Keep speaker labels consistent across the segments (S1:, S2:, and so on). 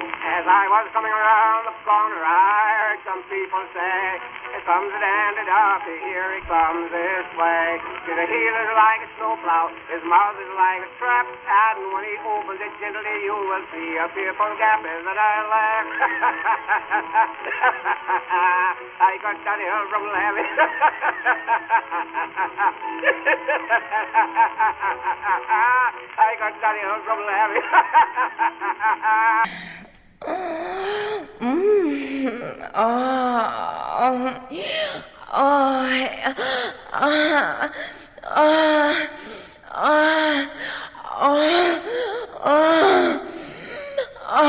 S1: I was coming around the corner, I heard some people say, Here comes it handed up, here he comes this way. His heel is like a snowplow, his mouth is like a trap, and when he opens it gently, you will see a fearful gap. Is that I laugh? I got that hill from laughing. I got that hill from laughing.
S2: Mm. Ah. Ah. Ah. Ah. Ah. Ah. Ah. Ah. Ah. Ah. Ah. Ah. Oh. Ah. Ah. Ah. Ah. Ah. Ah.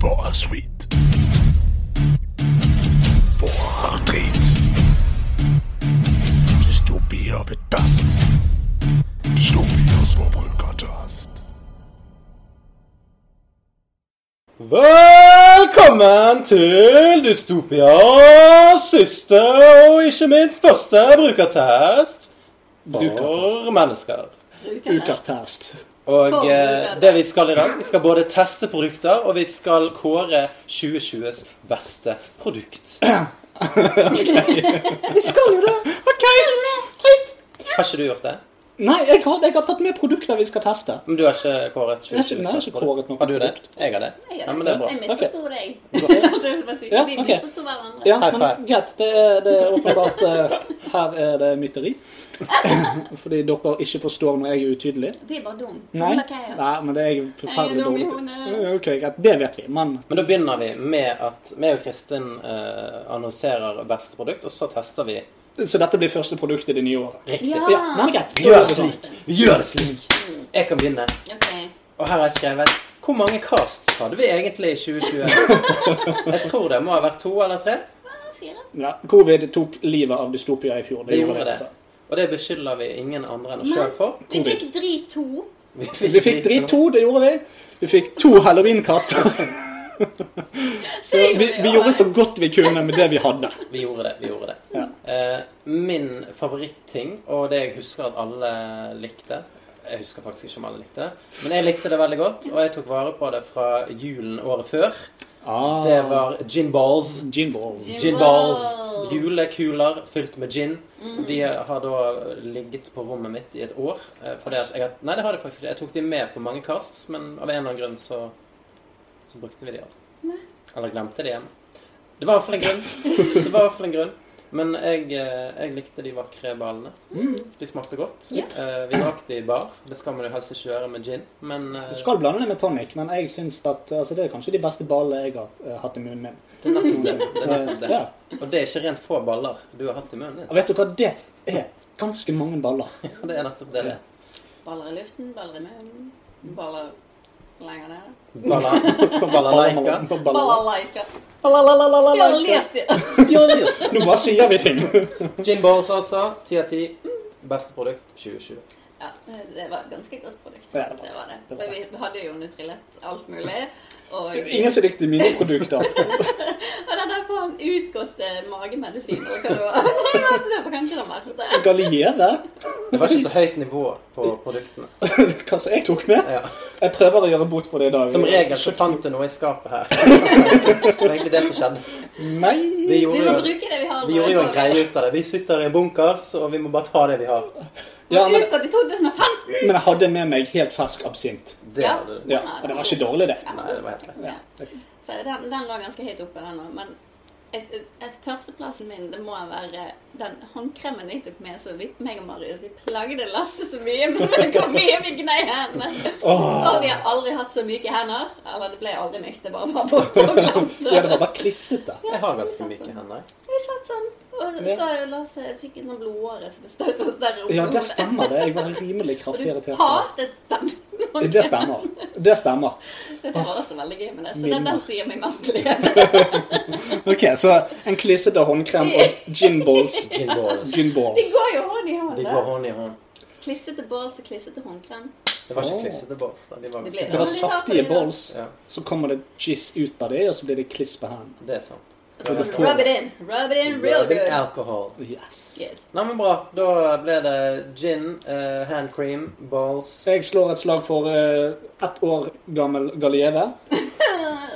S3: Bare sweet. Bare drit. Dystopier bedast. Dystopier som bruker tast.
S4: Velkommen til Dystopia siste og ikke minst første brukertest for
S5: Brukertest.
S4: mennesker.
S5: Ukertest.
S4: Og
S6: For
S4: eh,
S6: brukere.
S4: det vi skal i dag, vi skal både teste produkter, og vi skal kåre 2020s beste produkt.
S5: Vi skal jo det! OK! Greit.
S4: Har ikke du gjort det?
S5: Nei, jeg har, jeg har tatt med produkter vi skal teste.
S4: Men du har ikke kåret
S5: Jeg har ikke-
S4: 2020s
S5: nei, jeg har ikke kåret noe
S4: Har du det?
S5: produkt.
S4: Jeg har det.
S6: Jeg gjør
S4: Ja, men det er bra.
S6: Jeg misforsto deg. Det vil bare si,
S5: Ja,
S6: Vi
S5: ok.
S6: misforsto hverandre.
S5: Ja,
S4: High five.
S5: men greit. Det er, det er åpenbart eh, Her er det mytteri. Fordi dere ikke forstår når jeg er utydelig.
S6: Vi er bare dum.
S5: Nei,
S6: Hva kan jeg gjøre?
S5: nei men det er jeg
S6: Jeg
S5: forferdelig
S6: er dum i
S5: dårlig til.
S6: hodet.
S5: Eh, Ok, greit. Det vet vi, men
S4: Men da begynner vi med at meg og Kristin eh, annonserer beste produkt, og så tester vi
S5: Så dette blir første produkt i det nye året.
S4: riktig.
S6: Ja.
S5: Ja, nei, men greit.
S4: Vi gjør det slik. Vi gjør det slik. Jeg kan begynne.
S6: Ok.
S4: Og her har jeg skrevet Hvor mange casts hadde vi egentlig i 2020? Jeg tror det må ha vært to eller tre.
S6: Ah, Fire.
S5: Ja, Covid tok livet av dystopia i fjor.
S4: Vi gjorde det.
S5: altså.
S4: Og det beskylder vi ingen andre enn oss sjøl for.
S6: Vi fikk drit to.
S5: Vi fikk dritt to, det gjorde vi. Vi fikk to halloweenkaster. Så vi, vi gjorde så godt vi kunne med det vi hadde.
S4: Vi gjorde det. vi gjorde det.
S5: Ja.
S4: Eh, min favoritting, og det jeg husker at alle likte Jeg husker faktisk ikke om alle likte det, men jeg likte det veldig godt. Og jeg tok vare på det fra julen året før. Det var gin balls.
S5: Gin balls.
S6: Gin
S4: Gin balls.
S6: balls.
S4: Julekuler fylt med gin. De har da ligget på rommet mitt i et år. eh, Fordi at jeg har, nei, det har de faktisk ikke. Jeg tok de med på mange casts, men av en eller annen grunn så, så brukte vi de aldri. Eller glemte de hjemme. Det var i hvert fall en grunn. Det var i hvert fall en grunn. Men jeg, eh, jeg likte de vakre ballene. De smakte godt.
S6: Mm. Ja.
S4: Eh, Vi drakk de i bar. Det skal man jo helst ikke gjøre med gin, men eh,
S5: Du skal blande det med tonic, men jeg syns at altså, det er kanskje de beste ballene jeg har eh, hatt i munnen min. Eh,
S4: det er nettopp det. det, er nettopp det.
S5: Ja.
S4: Og det er ikke rent få baller du har hatt i munnen
S5: Og
S4: din.
S5: Vet du hva det er? Ganske mange baller.
S4: Det er nettopp det. det. er.
S6: Baller i luften, baller i munnen, baller lenger ned.
S4: Bala, balalaika.
S6: Baller like. Jeg har
S5: Balalaika.
S6: lest det.
S4: Yes.
S5: Nå bare sier vi ting.
S4: Gin balls altså. 10 av 10. Beste produkt 2020.
S6: Ja, det var et ganske godt produkt.
S5: Ja, det var-
S6: Det var det.
S5: det var
S6: Men vi hadde jo Nutrilett, alt mulig. Og,
S5: Ingen som likte mine produkter.
S6: og den der faen utgåtte magemedisinen, og eh, hva det var. Jeg vet, det var kanskje det verste.
S5: Galliere?
S4: Det var ikke så høyt nivå på produktene.
S5: Hva som jeg tok med?
S4: Ja.
S5: Jeg prøver å gjøre bot på det i dag.
S4: Som regel så fant du noe i skapet her. Det var egentlig det som skjedde.
S5: Nei.
S4: Vi
S6: Vi må
S4: gjorde jo,
S6: bruke det vi har.
S4: vi gjorde jo en greie ut av det. Vi sitter i bunkers, og vi må bare ta det vi har.
S5: Ja, men,
S6: Utgått i 2015!
S5: men jeg hadde med meg helt fersk absint.
S4: Det hadde du.
S5: Ja, og det var ikke dårlig, det.
S4: Nei, det var helt greit.
S5: Ja.
S6: Så den, den lå ganske høyt oppe, den òg. Men et, et, et førsteplassen min det må være den håndkremen jeg tok med. Så vi, meg og Marius vi plagde Lasse så mye med hvor mye vi gnei hendene. Og vi har aldri hatt så myke hender. Eller det ble aldri mykt, det bare var borte og glemt.
S5: Ja, det var bare klissete.
S4: Jeg har ganske myke hender. jeg.
S6: Vi satt sånn. Og
S5: Ja.
S6: så Lasse fikk en sånn blodåre som bestøt oss der oppe.
S5: Ja, det stemmer det. Jeg var rimelig kraftig
S6: Og du
S5: irritert. av
S6: hatet den.
S5: det. Det stemmer. Det stemmer.
S6: Det var også veldig gøy med det. Så
S5: Minner.
S6: den der sier meg mest glede.
S5: Ok, så en klissete håndkrem og gin balls.
S4: Gin balls.
S5: Gin
S6: De
S5: balls.
S6: går jo hånd i hånd.
S4: De
S6: da.
S4: går hånd i hånd.
S6: Klissete bås og klissete håndkrem.
S4: Det var
S5: Åh.
S4: ikke klissete balls. Da. De var
S6: Det
S4: ganske-
S6: ble
S5: Det var
S6: Ja, men de
S5: saftige
S6: tar på de da.
S5: balls.
S4: Ja,
S5: Så kommer det jizz ut av det, og så blir det kliss på hendene.
S4: det er sant.
S6: Og så
S5: Ja.
S6: bare rub it in. Rub it in real
S4: Rubbing
S6: good.
S4: alcohol.
S5: Yes.
S6: Yes.
S4: Nei, men bra. Da ble det gin, eh, hand cream, balls
S5: Så jeg slår et slag for eh, ett år gammel Galieve.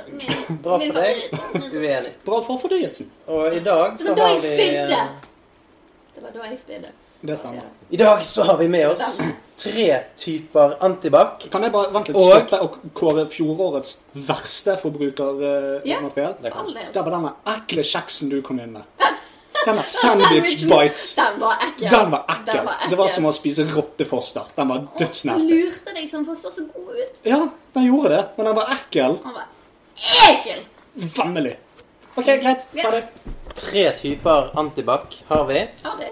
S6: Min,
S4: Bra
S6: min
S4: for deg.
S6: favoritt. Min-
S4: Uenig.
S5: Bra for fordøyelsen.
S4: Og i dag så
S6: Men da
S4: har
S6: jeg
S4: vi
S6: spydde!
S4: eh,
S6: Det var da jeg spydde.
S5: Det stemmer.
S4: I dag så har vi med oss tre typer antibac.
S5: Kan jeg bare vent litt,
S4: Og-
S5: stoppe og kåre fjorårets verste
S6: Ja.
S5: forbrukermateriell?
S4: Det
S6: For all del.
S5: Det var denne ekle kjeksen du kom inn med. Denne sandwich bites.
S6: Den var ekkel.
S5: Den var ekkel.
S6: Den var
S5: Det var som å spise rottefoster. Den var
S6: Han
S5: dødsnasty.
S6: lurte deg sånn, for han så så god ut.
S5: Ja, den gjorde det, men den var ekkel.
S6: Han var ekkel!
S5: Vemmelig. OK, greit. Ha det.
S4: Tre typer antibac har vi.
S6: Har vi?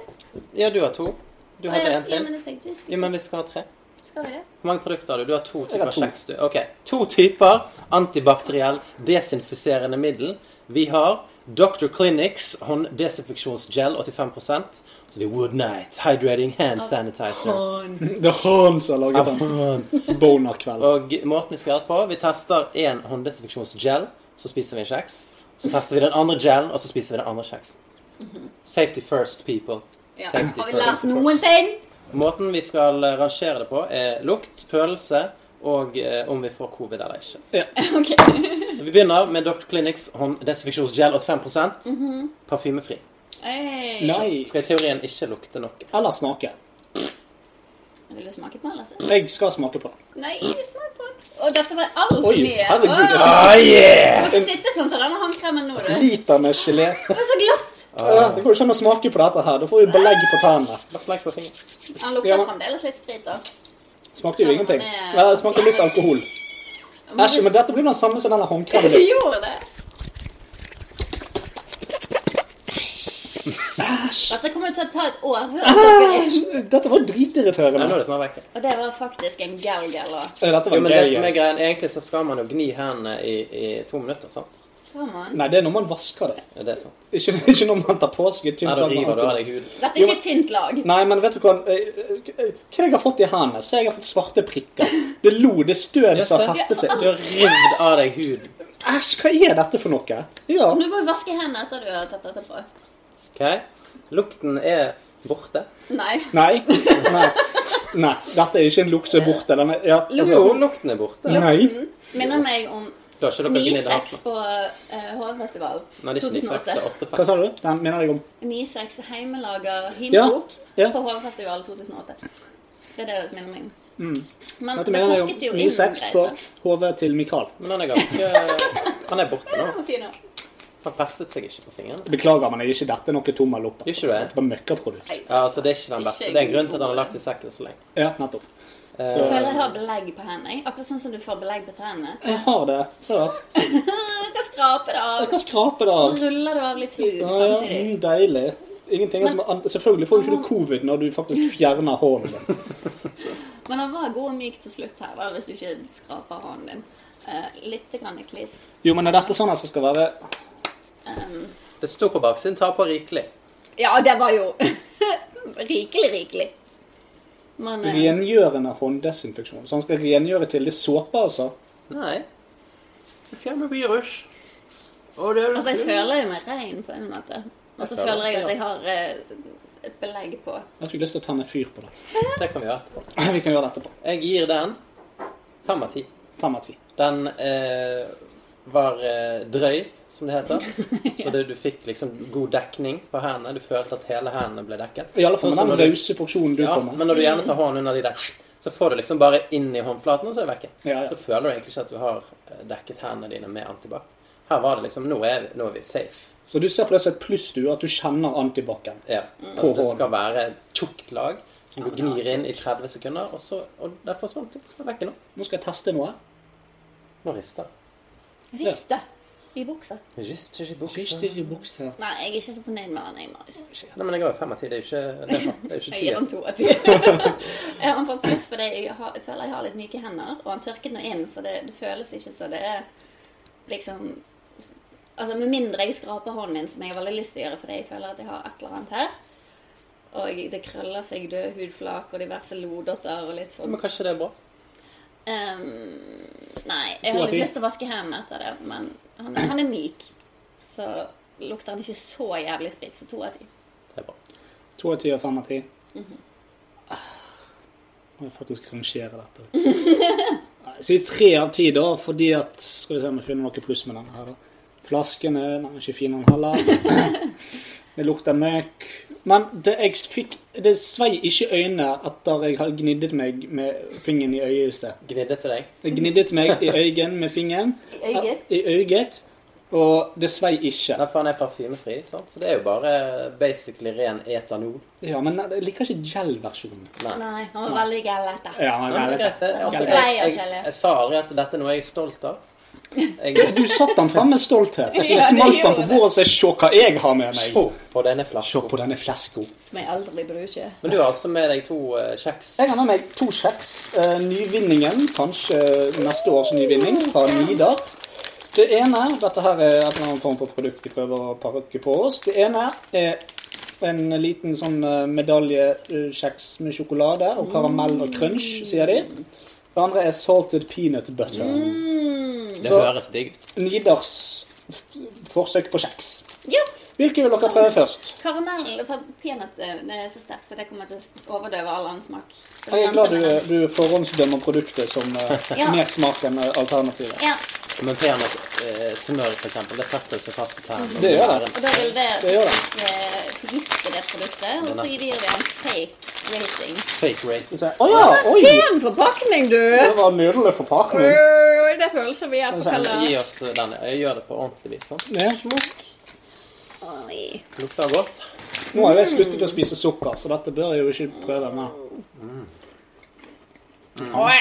S4: Ja, du har to. Du hadde en
S6: Ja,
S4: til.
S6: men jeg tenkte vi
S4: Jo,
S6: skulle
S4: men vi skal ha tre.
S6: Skal vi det?
S4: Hvor mange produkter har du? Du har to
S5: Jeg har
S4: typer
S5: to.
S4: kjeks. du. Ok, To typer antibakteriell desinfiserende middel. Vi har Dr. Clinics hånddesinfeksjonsgel 85 Så det er Wood Night Hydrating Hand Sanitizer.
S5: Det er han som har laget den. Boner-kveld.
S4: Og måten vi skal gjøre det på Vi tester én hånddesinfeksjonsgel, så spiser vi en kjeks. Så tester vi den andre gelen, og så spiser vi den andre kjeksen. Safety first, people.
S6: Mhm. Ja.
S4: Safety
S6: Har vi
S4: first.
S6: lært noen ting?
S4: Måten vi skal eh, rangere det på, er lukt, følelse og eh, om vi får covid eller ikke.
S6: Ok.
S4: Så Vi begynner med Dr. Clinics hånddesinfeksjonsgel 85 Parfymefri.
S6: Hey.
S4: Skal i
S5: Nice.
S4: teorien ikke lukte noe.
S5: Eller smake.
S6: Vil du smake på den, Lasse?
S5: Jeg skal smake på den.
S6: Nei, smak på den. Å, dette var altfor
S5: Oi,
S6: mye.
S5: herregud.
S6: Åh,
S4: Ah, yeah!
S6: jeg sitter sånn som denne håndkremen nå, du.
S5: Liter med gelé.
S6: Det var så glatt.
S5: Ja, Det går jo ikke an å smake på dette her. Da får vi belegg på tennene.
S4: Ah. Bare sleik på fingeren.
S6: Han
S5: Ja,
S6: lukter
S5: men-
S6: fremdeles litt sprit, da.
S5: Smakte jo ingenting. Ja, det smakte litt alkohol. Æsj, men dette blir den samme som denne håndkremen.
S6: Du gjorde det. Dette kommer til å ta et år før dere er
S5: Æsj! Dette var
S4: Nei, nå
S5: dritirriterende.
S4: er det snart vekk.
S6: Og det var faktisk en gal-gal òg.
S5: Eh, Dette
S4: Jo,
S5: var
S4: men det som er
S5: gøy.
S4: greien, Egentlig så skal man jo gni hendene i, i to minutter, sant?
S5: Nei, det er når man vasker det.
S4: Er det sant?
S5: Ikke, ikke når man tar på seg
S4: Nei,
S5: et tynt
S4: da
S5: lag med
S4: river du av
S5: alkohol.
S4: deg huden.
S6: Dette er ikke et tynt lag.
S5: Nei, men vet du hva eh, eh, Hva er det jeg har fått i hendene? Se, jeg har fått svarte prikker. Det er lo, det er støv som har festet seg.
S4: Du har rivd av deg huden.
S5: Æsj, hva er dette for noe? Ja.
S6: Du må jo vaske hendene etter du har tatt dette på.
S4: Ok? Lukten er borte.
S6: Nei.
S5: Nei. Nei. Nei. Dette er ikke en lukt som er borte. Den er ja,
S4: Jo,
S5: altså.
S4: lukten er borte.
S5: Nei.
S6: Minner meg om
S4: Du har ikke dere gnidd
S6: Nisex
S4: hendene?
S6: på uh, Hovefestival.
S4: Nei, det er ikke niseks, det er
S5: Hva
S4: åttefem.
S5: sa du? Den minner jeg om
S6: Nisex
S5: Ja,
S6: heimelager hymnbok
S5: ja.
S6: på Hovefestival 2008. Det er det som minner meg om. Men
S5: Mm. Dette
S6: det
S5: mener jeg om
S6: tørket jo
S5: ny
S6: inn
S5: sex
S6: greit,
S5: på
S6: da.
S5: hodet til Mikael.
S4: Men han er ganske Han er borte
S6: Den
S4: nå.
S6: var fin, da.
S4: Han festet seg ikke på fingeren.
S5: Beklager, men jeg er ikke dette noe tommel opp.
S4: Ikke det?
S5: Dette var møkkaprodukt.
S4: Ja, altså Det er ikke den beste.
S6: Ikke
S4: Det er en grunn til at han har lagt i sekken så lenge.
S5: Ja, nettopp.
S6: Jeg føler jeg har belegg på hendene. jeg. Akkurat sånn som du får belegg på tennene.
S5: Jeg har det. Se.
S6: Jeg skal skrape det
S5: Jeg
S6: av.
S4: sånn.
S5: kan skrape det av.
S6: Så ruller du av litt hud
S5: Ja, ja,
S6: samtidig.
S5: mm, deilig. Ingenting er som an... Selvfølgelig får jo ikke du covid når du faktisk fjerner hånden din.
S6: Men den var god og myk til slutt her, da, hvis du ikke skraper hånden din. Eh, litt grann i kliss.
S5: Jo, men er dette sånn at det skal være
S6: Um,
S4: Det sto på baksiden 'taper rikelig'.
S6: ja, det var jo rikelig, rikelig. Men eh,
S5: rengjørende hånddesinfeksjon? Så han skal rengjøre til det er såpe, altså?
S4: Nei. Du fjerner virus. Og det er
S6: altså, jeg føler jo meg rein på en måte. Og så
S4: Jeg føler
S6: føler jeg
S4: det,
S6: at jeg har eh, et belegg på
S5: Jeg fikk lyst til å tenne fyr på det.
S4: Det kan vi gjøre etterpå.
S5: Vi kan gjøre det etterpå.
S4: Jeg gir den fem av ti.
S5: Fem av ti.
S4: Den eh, var eh, drøy, som det heter. Så det, du fikk liksom god dekning på hendene. Du følte at hele hendene ble dekket.
S5: I alle fall
S4: Sånn
S5: med
S4: som
S5: den
S4: når du-
S5: rause porsjonen du
S4: Ja,
S5: kom med.
S4: men når du gjerne tar hånden under de der, så får du liksom bare inn i håndflaten, og så er det vekke.
S5: Ja, ja.
S4: Så føler du egentlig ikke at du har eh, dekket hendene dine med antibac. Her var det liksom Nå er vi, nå er vi safe.
S5: Så du ser på det som et pluss, du, at du kjenner antibac-en.
S4: Ja.
S6: Mm.
S4: Altså, det skal være et tjukt lag som du gnir inn i 30 sekunder, og så Og der forsvant det. Det er vekke nå.
S5: Nå skal jeg teste noe.
S4: Nå rister det.
S6: riste i buksa.
S4: Rister ikke i
S5: Først
S4: buksa.
S5: i buksa.
S6: Nei, jeg er ikke så fornøyd med den, jeg, Marius.
S4: Nei, men jeg har jo fem av ti. Det er jo ikke det er sant, det er jo ikke
S6: Jeg gir
S4: tier.
S6: han to av ti. jeg har han fått pluss fordi jeg, har, jeg føler jeg har litt myke hender, og han tørket nå inn, så det, det føles ikke så det er liksom Altså med mindre jeg skraper hånden min, som jeg har veldig lyst til å gjøre fordi jeg føler at jeg har et eller annet her, og det krøller seg død hudflak og diverse lodotter og litt sånn
S4: Men kanskje det er bra?
S6: Ehm, nei,
S5: To
S6: jeg
S5: av
S6: har litt
S5: ti.
S6: lyst til å vaske hendene etter det, men han, han er myk. Så lukter han ikke så jævlig sprit, så to av ti.
S4: Det er bra.
S5: To av ti og fem av ti. Må jeg faktisk rangere dette. Nei, Så i tre av ti, da, fordi at Skal vi se om vi finner noe pluss med denne her, da. Flaskene Nei, ikke fin den heller. Det lukter møkk. Men det jeg fikk Det svei ikke øynene etter jeg hadde gniddet meg med fingeren i øyet i sted.
S4: Gnidde til deg.
S5: Jeg gniddet meg i øyet med fingeren.
S6: Øyet.
S5: I øyet. Og det svei ikke.
S4: Nei, for han er parfymefri, sant? så det er jo bare basically ren etanol.
S5: Ja, men jeg liker ikke gel-versjonen.
S6: Nei, han var veldig gæren etter.
S5: Ja, men
S4: Ja, men
S5: det er
S4: greit, det- altså,
S5: Skal
S6: jeg-
S4: jeg, jeg, jeg, jeg sa aldri at dette er noe jeg er stolt av. Jeg
S5: Du satt den frem med stolthet. Du
S6: Ja, det
S5: smalt den
S6: gjorde
S5: på
S6: det.
S5: bordet og sa 'se hva jeg har med meg'.
S4: så på denne
S5: Se på
S4: flasken.
S5: denne flaska.
S6: Som jeg aldri bruker.
S4: Men du har altså med deg to eh, kjeks.
S5: Jeg har med meg to kjeks. Eh, nyvinningen, kanskje eh, neste års nyvinning, fra Nidar. Det ene Dette her er et eller annet form for produkt de prøver å pakke på oss. Det ene er en liten sånn eh, medaljekjeks med sjokolade og karamell og crunch, sier de. Det andre er salted peanut butter.
S6: Mm.
S4: Det
S5: så-
S4: høres digg ut.
S5: Nidars f- forsøk på kjeks.
S6: Ja,
S5: Hvilke vil dere prøve først?
S6: karamell for peanøtt eh, det er så sterkt, så det kommer til å overdøve all annen smak. Så
S5: Jeg er
S6: venter
S5: glad du,
S6: med den.
S5: du forhåndsdømmer produktet som eh,
S6: Ja.
S5: mer smak enn eh, alternativet.
S6: Ja,
S4: Men peanøtt, eh, smør, for eksempel, det setter seg fast i tærne.
S5: Det gjør det.
S6: og da vil det
S5: Det gjør det.
S6: eh, forgifte det produktet, og så gir det en fake rating.
S4: Fake rate.
S5: Så- Å ja! Oi!
S6: Pen forpakning, du!
S5: Det var nydelig
S6: Oi, det føles som vi er på
S5: Sånn,
S4: Gi
S6: kalas.
S4: oss eh, den. Jeg gjør det på ordentlig vis. sånn.
S5: Ja,
S6: Oi.
S4: Lukter godt.
S5: Nå har jeg sluttet å spise sukker, så dette bør jeg jo ikke prøve mer.
S6: Oi.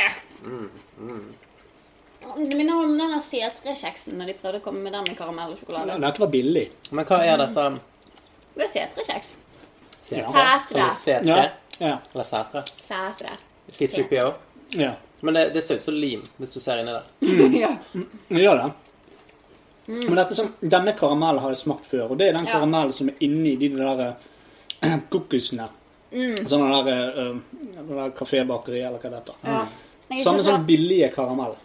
S6: Det minner om den der setrekjeksen når de prøvde å komme med den med karamell og sjokolade.
S5: Dette var billig.
S4: Men hva er dette?
S6: Det er setrekjeks.
S4: Setre?
S6: Sætre.
S4: Som er setre?
S5: Ja. ja.
S4: Eller setre?
S6: Sætre.
S4: C3PO.
S5: ja.
S4: Men det, det ser ut som lim, hvis du ser inni der.
S6: ja.
S5: Vi gjør det. Men dette som, denne karamellen har jeg smakt før, og det er den
S6: Mm. Ja.
S5: karamellen som er inni de der eh, cookiesene.
S6: Mm.
S5: Sånne der, eh, eh, der kafébakeri, eller hva det heter.
S6: ja. Men jeg er
S5: Samme
S6: ikke så-
S5: som billige karamell.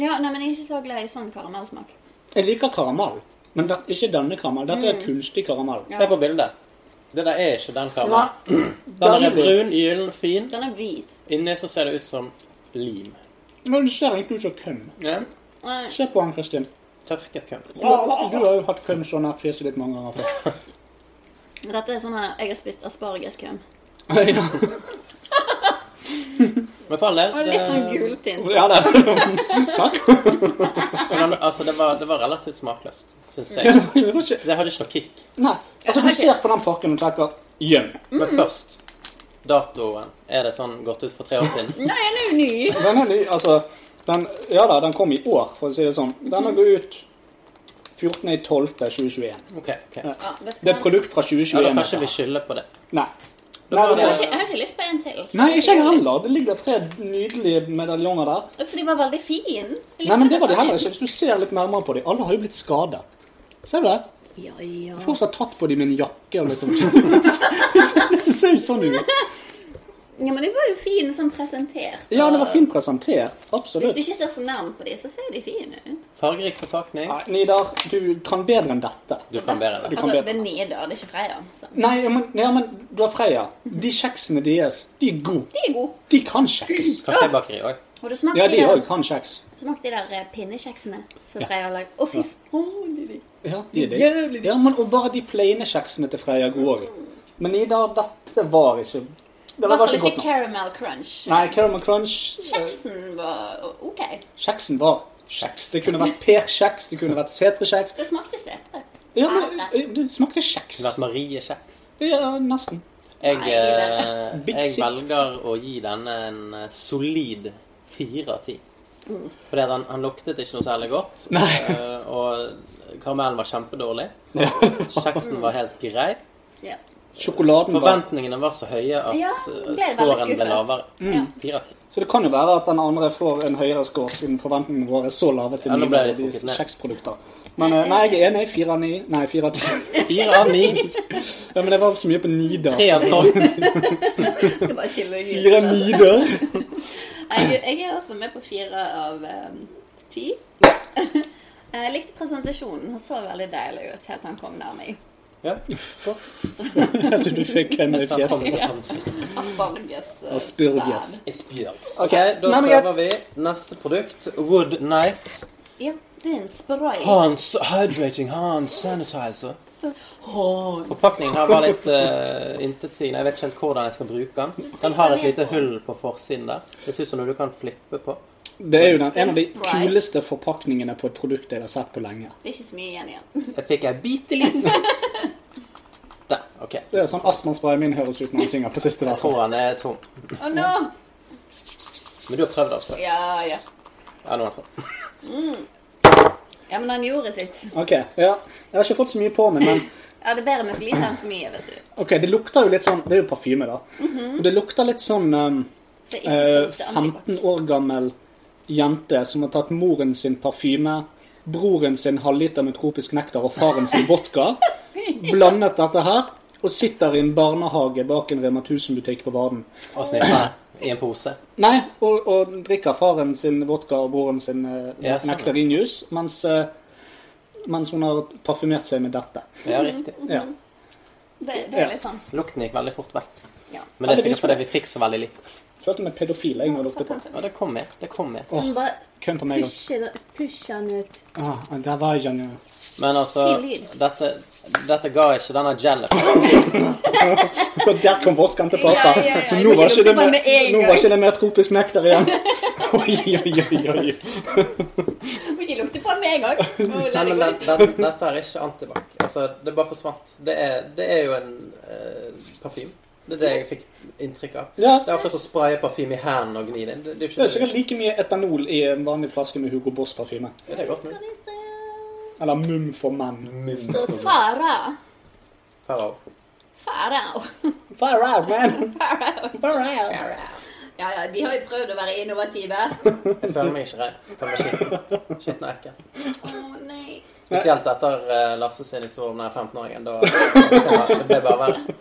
S6: Ja, nei, men jeg er ikke så glad i sånn karamellsmak.
S5: Jeg liker karamell, men det, ikke denne karamellen. Dette er kunstig karamell.
S4: Se på bildet. Det der er ikke den
S5: Nei,
S4: karamellen. Den er brun, gyllen, fin.
S6: Den er hvit.
S4: Inni så ser det ut som lim.
S5: Men det ser egentlig ut som køm.
S4: Ja.
S6: Nei.
S5: Se på han, Kristin.
S4: Tørket køm.
S5: Du, har- du har jo hatt køm så nært fjeset ditt mange ganger før.
S6: Dette er sånn her Jeg har spist aspargeskøm.
S5: ja.
S4: Men for all del,
S6: Og
S4: det,
S6: litt sånn gultint.
S5: ja, det. Takk.
S4: men, altså, det, var, det var relativt smakløst, syns jeg.
S5: Det var ikke-
S4: Det hadde ikke noe kick.
S5: Nei. Altså, du ser på den pakken og tenker gjem.
S4: Men først datoen. Er det sånn gått ut for tre år siden?
S6: Nei, den er jo ny!
S5: Den er ny, altså den, Ja da, den kom i år, for å si det sånn. Denne går ut 14.12.2021.
S4: Ok, ok. Ja,
S6: Ja, vet du
S5: Det er et
S6: hva?
S5: produkt fra 2021.
S4: da kanskje vi
S5: dette.
S4: skylder på det.
S5: Nei. Nei,
S4: tar
S5: det
S6: Jeg har
S5: er-
S6: ikke- jeg har ikke lyst på en til. så
S5: nei,
S6: det er
S5: ikke jeg
S6: sikkert litt-
S5: heller. Det ligger tre nydelige medaljonger der.
S6: For de var veldig fine.
S5: Nei, men det var de heller ikke. Hvis du ser litt nærmere på dem, alle har jo blitt skadet. Ser du det?
S6: Ja, ja.
S5: Fortsatt tatt på dem med en jakke og liksom Det ser jo sånn ut.
S6: Ja, men de var jo fine sånn presentert.
S5: Ja, det var fint presentert.
S6: Hvis du
S5: Absolutt.
S6: ikke ser så nærmt på de, så ser de fine ut.
S4: Fargerik forpakning.
S5: Nei, Nidar, du kan bedre enn dette.
S4: Du kan bedre enn det.
S5: kan
S6: Altså,
S5: bedre.
S6: det er Nidar, det er ikke Freia. Så.
S5: Nei, men, ja, men du har Freya. De kjeksene deres, de er gode.
S6: De er gode.
S5: De kan kjeks.
S4: Kafébakeri òg.
S6: Har du smakt
S5: Ja,
S6: de
S5: de
S6: der,
S5: òg kan kjeks.
S6: smakt de der eh, pinnekjeksene som Freia har lagd? Å, fy faen! de er digg.
S5: Ja, de er det. Ja, men, og bare de plaine kjeksene til Freya er gode òg. Men Nidar, dette var ikke Det
S6: I
S5: var
S6: hvert fall
S5: ikke godt
S6: ikke
S5: nok.
S6: Caramel Crunch.
S5: Nei, Caramel Crunch eh,
S6: Kjeksen var o- OK.
S5: Kjeksen var kjeks. Det kunne vært Per-kjeks, det kunne vært Setre-kjeks.
S6: Det smakte setre.
S5: Ja, men eh, det smakte kjeks.
S4: Vært Marie Kjeks.
S5: Ja, nesten.
S4: Jeg,
S6: Nei,
S4: eh,
S5: Big
S4: jeg
S5: Sit.
S4: velger å gi denne en eh, solid fire av ti. Fordi at han, han luktet ikke noe særlig godt.
S5: Nei.
S4: eh, Og karamellen var kjempedårlig.
S5: Ja.
S4: Kjeksen var helt grei.
S6: Ja.
S5: Sjokoladen var
S4: Forventningene var så høye at ja,
S6: Ja, ble veldig
S4: scoren ble
S6: skuffet.
S4: lavere.
S6: Ja.
S4: Fire av ti.
S5: Så det kan jo være at den andre får en høyere score, siden forventningene våre er så lave til
S4: Ja, nå ble
S5: Nidar
S4: jeg
S5: og
S4: litt trukket
S5: deres
S4: ned.
S5: kjeksprodukter. Men eh, nei, jeg er enig. Fire av ni. Nei, fire av ti.
S4: Fire av ni.
S5: Ja, men det var så mye på Nidar.
S4: Tre av tolv.
S6: Skal bare skille ut.
S5: Fire Nidar.
S6: Jeg, jeg er også med på fire av eh, ti. Eh, Jeg likte presentasjonen. Han så veldig deilig ut helt til han kom nær meg.
S4: Ja, godt.
S5: Jeg tror du fikk en i
S4: Da kom
S5: fjeset.
S4: det ansikt.
S6: Asparges. eh,
S5: Asperges.
S6: stab.
S4: Espirals.
S5: Ok,
S4: Ok, da
S5: nei, men
S4: prøver vi neste produkt. Wood Night.
S6: Ja, det er en spray.
S4: Hans Hydrating Hans Sanitizer. Forpakningen her var litt uh, intetsigende. Jeg vet ikke helt hvordan jeg skal bruke den. Den har et lite hull på forsiden der. Det ser ut som noe du kan flippe på.
S5: Det er jo den, en av de
S6: Sprite.
S5: kuleste forpakningene på et produkt jeg har sett på lenge.
S6: Det er ikke så mye igjen igjen.
S4: Jeg fikk en bitte liten sånn. Der. OK.
S5: Det er sånn astmaspray min høres ut når han synger på siste verset.
S4: Tåren er tom.
S6: Å nå!
S4: Men du har prøvd det også?
S6: Ja, ja.
S4: Ja, nå er den tom.
S6: Ja, men han gjorde sitt.
S5: Ok, ja. Jeg har ikke fått så mye på meg, men
S6: Ja, det er bedre med for lite enn for mye, vet du.
S5: ok, det lukter jo litt sånn Det er jo parfyme, da. Og det lukter litt sånn um,
S6: Det er ikke
S5: eh,
S6: sånn til
S5: 15 år gammel jente som har tatt moren sin parfyme, broren sin halvliter med tropisk nektar og faren sin vodka, blandet dette her, og sitter i en barnehage bak en Rema 1000-butikk på Varden.
S4: Og snipper i en pose.
S5: Nei, og, og drikker faren sin vodka og broren sin eh,
S4: Ja, sånn.
S5: nektarinjuice, mens, eh, mens hun har parfymert seg med dette.
S4: Ja, riktig.
S5: Ja.
S6: Det, det
S5: Ja.
S6: er litt sånn.
S4: Lukten gikk veldig fort vekk.
S6: Ja.
S4: Men det er
S5: Heldigvis
S4: sikkert
S5: for
S4: fordi vi fikk så veldig lite.
S5: Følte meg pedofil jeg når jeg lukte på.
S4: Ja, det kom med. Det kom med.
S6: Hun bare
S5: Kønt om meg. også.
S6: pusher, pusher han ut.
S5: Ah, der var jeg, Janne.
S4: Men altså
S6: Fin lyd.
S4: Dette, dette ga ikke denne gelen.
S5: Og der kom vodkaen til
S6: Ja,
S5: pappa.
S6: ja, ja.
S5: Nå
S6: Jeg må
S5: var
S6: ikke
S5: ikke det
S6: lukte på
S5: mer,
S6: meg med en
S5: nå var
S6: gang.
S5: ikke det mer tropisk nektar igjen. Oi, oi, oi, oi.
S6: Hun ikke lukte på han med en gang. Hun la
S4: Nei,
S6: det
S4: men
S6: gå
S4: det,
S6: litt.
S4: det, dette er ikke antibac. Altså, det bare forsvant. Det er, det er jo en eh, parfyme. Det er det jeg fikk inntrykk av.
S5: Ja.
S4: Det er akkurat som å spraye parfyme i hendene og gni det inn. Det, det er
S5: Det
S4: jo
S5: er
S4: ikke
S5: sikkert like mye etanol i en vanlig flaske med Hugo Boss-parfyme.
S4: Ja, det er godt mulig.
S5: Eller Mum for menn.
S6: Fara.
S4: Farao.
S6: Farao.
S5: Fire out, man! Fire out.
S6: Ja, ja, de har jo prøvd å være innovative.
S4: Jeg føler meg ikke rein. Jeg føler meg skitten. Skitten er ekkel.
S6: Å nei.
S4: Spesielt etter eh, Lasse sin historie om den 15-åringen. Da det ble bare verre.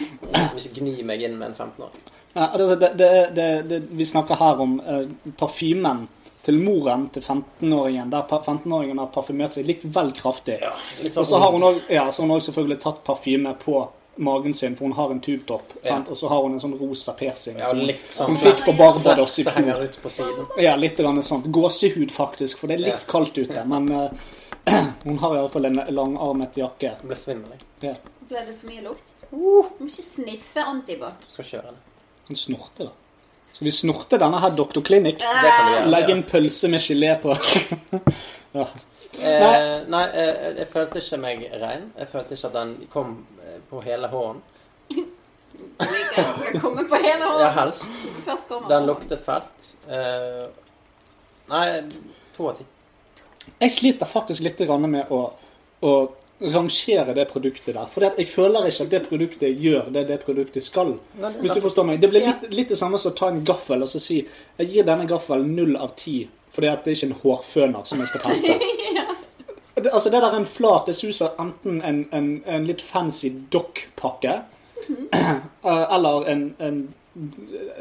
S4: Jeg vil ikke gni meg inn med en 15-åring.
S5: Ja, altså, det, det, det, det, vi snakker her om eh, parfymen til moren til 15-åringen, der pa- 15-åringen har parfymert seg litt vel kraftig.
S4: Litt
S5: Og så har
S4: sånn
S5: hun òg ja, så har hun også selvfølgelig tatt parfyme på magen sin, for hun har en tubetopp. sant? Og så har hun en sånn rosa persing.
S4: ja,
S5: som hun-
S4: litt sånn
S5: hun fikk på Barbados i
S4: flesse
S5: fjor.
S4: henger ut på siden.
S5: Ja, litt grann sånn. Gåsehud, faktisk, for det er litt
S4: Ja.
S5: kaldt ute. Men eh, hun har iallfall en langarmet jakke.
S4: Jeg ble svimmel. jeg.
S5: Ja.
S6: Ble det for mye lukt? Uh, må ikke sniffe antibac.
S4: Jeg Skal kjøre det.
S5: Hun snorter, da. Skal vi snorte denne her Dr. Clinic?
S4: Det kan
S6: Eh,
S4: vi gjøre.
S5: Legge en pølse med gelé på. ja.
S4: Eh, nei, eh, jeg følte ikke meg rein. Jeg følte ikke at den kom eh, på hele hånden.
S6: Skal komme på hele
S4: Ja,
S6: hånden.
S4: helst.
S6: Først kommer
S4: Den
S6: hånden.
S4: luktet fælt. Eh, nei, to av ti.
S5: Jeg sliter faktisk litt grann med å, å rangere det produktet der. For jeg føler ikke at det produktet gjør det det produktet skal. Hvis du forstår meg. Det blir litt, litt det samme som å ta en gaffel og så si jeg gir denne gaffelen null av ti. Fordi at det er ikke en hårføner som jeg skal teste. Det, altså det der er en flat, det suser enten en, en, en litt fancy dokkpakke, eh, eller en, en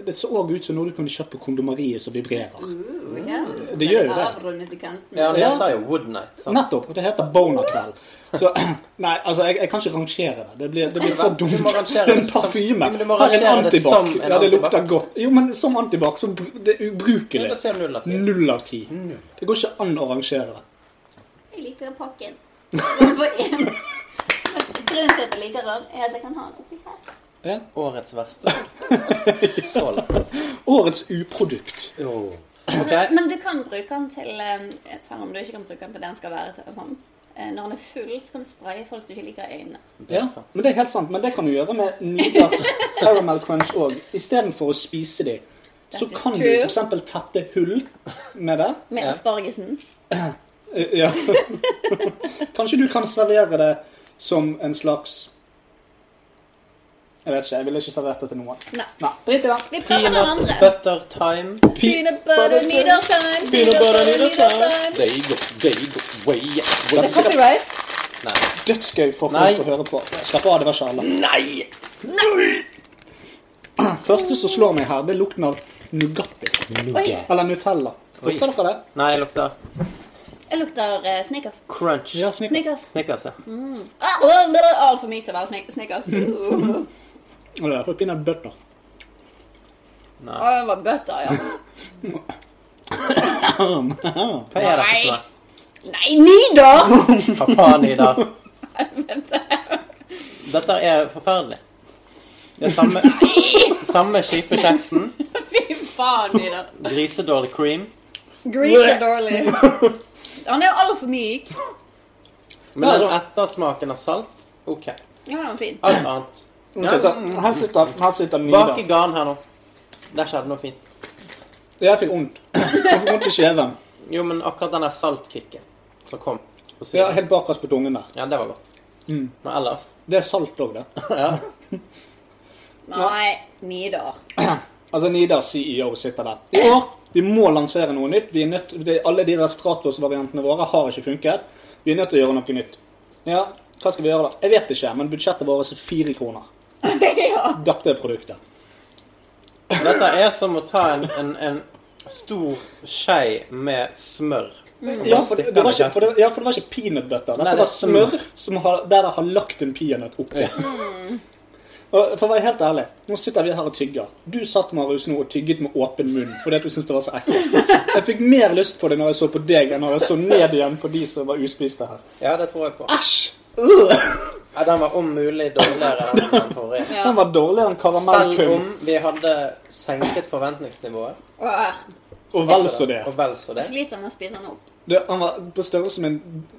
S5: Det så òg ut som noe du kunne kjøpt på kondomeriet som vibrerer.
S6: Uh, ja.
S4: Mm,
S5: Det gjør jo det.
S6: Avrundet i kanten.
S4: Ja, det
S5: Ja.
S4: heter jo Wood Night. Sant?
S5: Nettopp. Det heter Boner-kveld. Så Nei, altså, jeg, jeg kan ikke rangere det. Det blir, det blir for
S4: Du må
S5: dumt. Det
S4: rangere
S5: er en
S4: det som-
S5: parfyme.
S4: Men du må
S5: Her er en
S4: rangere det som
S5: antibac.
S4: en
S5: Ja, det lukter
S4: antibac.
S5: godt. Jo, men som antibac så br- det er
S4: Ja, Da
S5: ubrukelig.
S4: ser du null av ti.
S5: Null av ti. Det går ikke an å rangere det.
S6: Jeg liker pakken. Bare for én. Men Grunnen til at jeg liker den, er at jeg kan ha den oppi her.
S5: Ja.
S4: Årets verste. Så langt.
S5: Årets uprodukt.
S4: Ok,
S6: Men du kan bruke den til eh, Selv om du ikke kan bruke den til det den skal være til. og Sånn. Eh, Når den er full, så kan du spraye folk du ikke liker i øynene.
S4: Det
S5: Ja,
S4: er sånn. sant.
S5: men Det er helt sant, men det kan du gjøre med Nidars Caramel Crunch òg. Istedenfor å spise de, så
S6: That is
S5: kan du
S6: true.
S5: f.eks. tette hull med det.
S6: Med
S4: Ja.
S6: aspargesen.
S5: Eh, Ja. Kanskje du kan servere det som en slags Jeg vet ikke. Jeg ville ikke servert det til noen.
S6: Nei.
S5: Nei, Drit i det.
S6: Vi prøver den
S4: Peanut
S6: andre.
S4: butter time.
S6: Peanut butter needle time.
S5: Peanut butter needle
S6: time.
S4: They go, they go way
S5: Det
S4: way.
S5: er sikkert
S6: Copyright.
S4: Nei.
S5: dødsgøy for folk
S4: Nei.
S5: å høre på. Slapp av, det var ikke alle.
S4: Nei!
S5: Første som slår meg her, det er lukten av Nugatti.
S6: Oi,
S5: Eller Nutella.
S4: Oi.
S5: Lukter dere det?
S4: Nei, jeg lukter
S6: jeg lukter eh, Snickers.
S4: crunch.
S5: Ja, snipp.
S6: Snickers.
S4: Snickers, ja.
S6: Ah, åh, det er Altfor mye til å være snik- Snickers. Uh,
S5: Og det er for peanut butter.
S6: Å, det var bøtter, ja.
S4: Hva er dette for noe?
S6: Nei, Nidar!
S4: Hva faen, Ida? Dette er forferdelig. Det er samme, samme kjipe kjeksen.
S6: Fy faen, Nidar.
S4: Grisedårlig cream.
S6: Grease er dårlig. Han er jo altfor myk.
S4: Men den ettersmaken av salt OK.
S6: Ja, han er fin.
S4: Alt annet. mm,
S5: Ok, så her sitter, her sitter
S4: Bak i
S5: Nidar.
S4: garn her nå. Der skjedde noe fint.
S5: Jeg fikk vondt. Jeg fikk vondt i kjeven.
S4: Jo, men akkurat den der saltkicken som kom på
S5: Ja, Mm.
S4: siden.
S5: helt bakerst på tungen der.
S4: Ja, det var godt. Men ellers
S5: Det er salt òg, det.
S6: Nei, Nidar.
S5: Altså, Nidar CEO sitter der. I år vi må lansere noe nytt. Vi er nødt, det, alle de der Stratos-variantene våre har ikke funket. Vi er nødt til å gjøre noe nytt. Ja, hva skal vi gjøre da? Jeg vet ikke, men budsjettet vårt er fire kroner.
S6: ja.
S5: Dette er produktet.
S4: Dette er som å ta en, en, en stor skei med smør.
S5: Mm. Ja, for det, det var ikke, for det, ja, for det var ikke peanut butter.
S4: Nei,
S5: Dette
S4: det er
S5: var smør som har, der det har lagt en peanøtt oppi. Og for å være helt ærlig, nå sitter vi her og tygger. Du satt Marius, nå og tygget med åpen munn fordi at du syntes det var så ekkelt. Jeg fikk mer lyst på det når jeg så på deg, enn når jeg så ned igjen på de som var uspiste her.
S4: Ja, det tror jeg på.
S5: Æsj! Øh!
S4: Ja, den var om mulig dårligere enn den forrige.
S5: Den var dårligere enn
S4: Selv om
S5: karamellkum.
S4: vi hadde senket forventningsnivået.
S6: Åh,
S5: Og vel så det.
S4: Og vel så det.
S6: sliter med å spise den opp.
S5: Du, Han var på størrelse med en-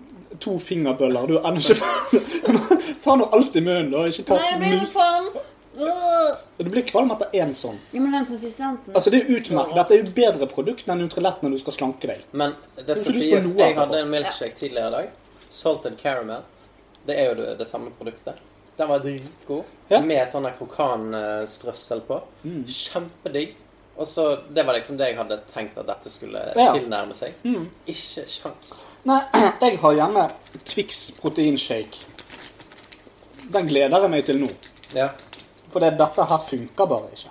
S5: to fingerbøller. Du er ennå ikke Ta nå alt i munnen, da. Ikke ta
S6: Nei, det blir jo
S5: minst.
S6: sånn. Øh.
S5: Du blir kvalm etter én sånn.
S6: Ja, men den konsistensen.
S5: Altså, det er utmerket. Dette er jo bedre produkt enn Nutrilett når du skal slanke deg.
S4: Men det
S5: Kanskje
S4: skal
S5: du
S4: sies,
S5: skulle noe
S4: jeg hadde
S5: etterpå?
S4: en milkshake tidligere i dag. Salted caramel. Det er jo det, det samme produktet. Den var dritgod.
S5: Ja. Mm.
S4: Med sånn der krokanstrøssel på. Kjempedigg. Og så, Det var liksom det jeg hadde tenkt at dette skulle
S5: Ja. Mm.
S4: tilnærme seg. Ikke sjans.
S5: Nei, jeg har hjemme Twix proteinshake. Den gleder jeg meg til nå.
S4: Ja.
S5: For det, dette her funker bare ikke.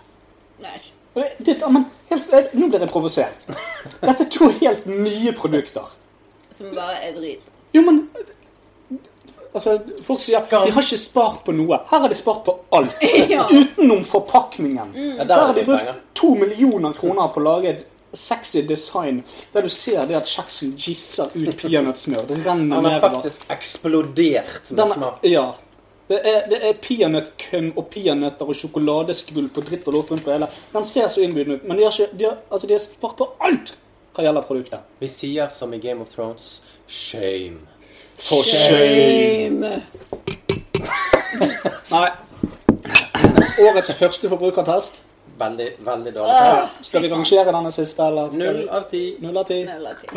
S6: Nei.
S5: Og Det, det, ja, men, helt, jeg, nå blir jeg provosert. Dette er to helt nye produkter.
S6: Som bare er drit.
S5: Jo, men Altså, Folk sier at
S4: Skam.
S5: de har ikke spart på noe. Her har de spart på alt.
S6: Ja.
S5: Utenom forpakningen.
S4: ja der
S5: Der har
S4: var
S5: de
S4: det mye penger.
S5: brukt to millioner kroner på å lage et sexy design der du ser det at kjeksen gisser ut peanøttsmør. Det renner
S4: Han har
S5: nedover.
S4: faktisk eksplodert med
S5: Den,
S4: smak.
S5: ja. Det er, det er peanøttkøm og peanøtter og sjokoladeskvull på dritt og lort rundt på hele. Den ser så innbydende ut, men de har, ikke, de har, altså de har spart på alt hva gjelder produktet.
S4: Vi sier som i Game of Thrones shame.
S5: For shame! Nei. Årets første forbrukertest.
S4: Veldig, veldig dårlig test.
S5: Skal vi rangere denne siste, eller? skal
S4: Null
S5: vi-
S4: av ti.
S5: Ah. Null av ti.
S6: Null av ti.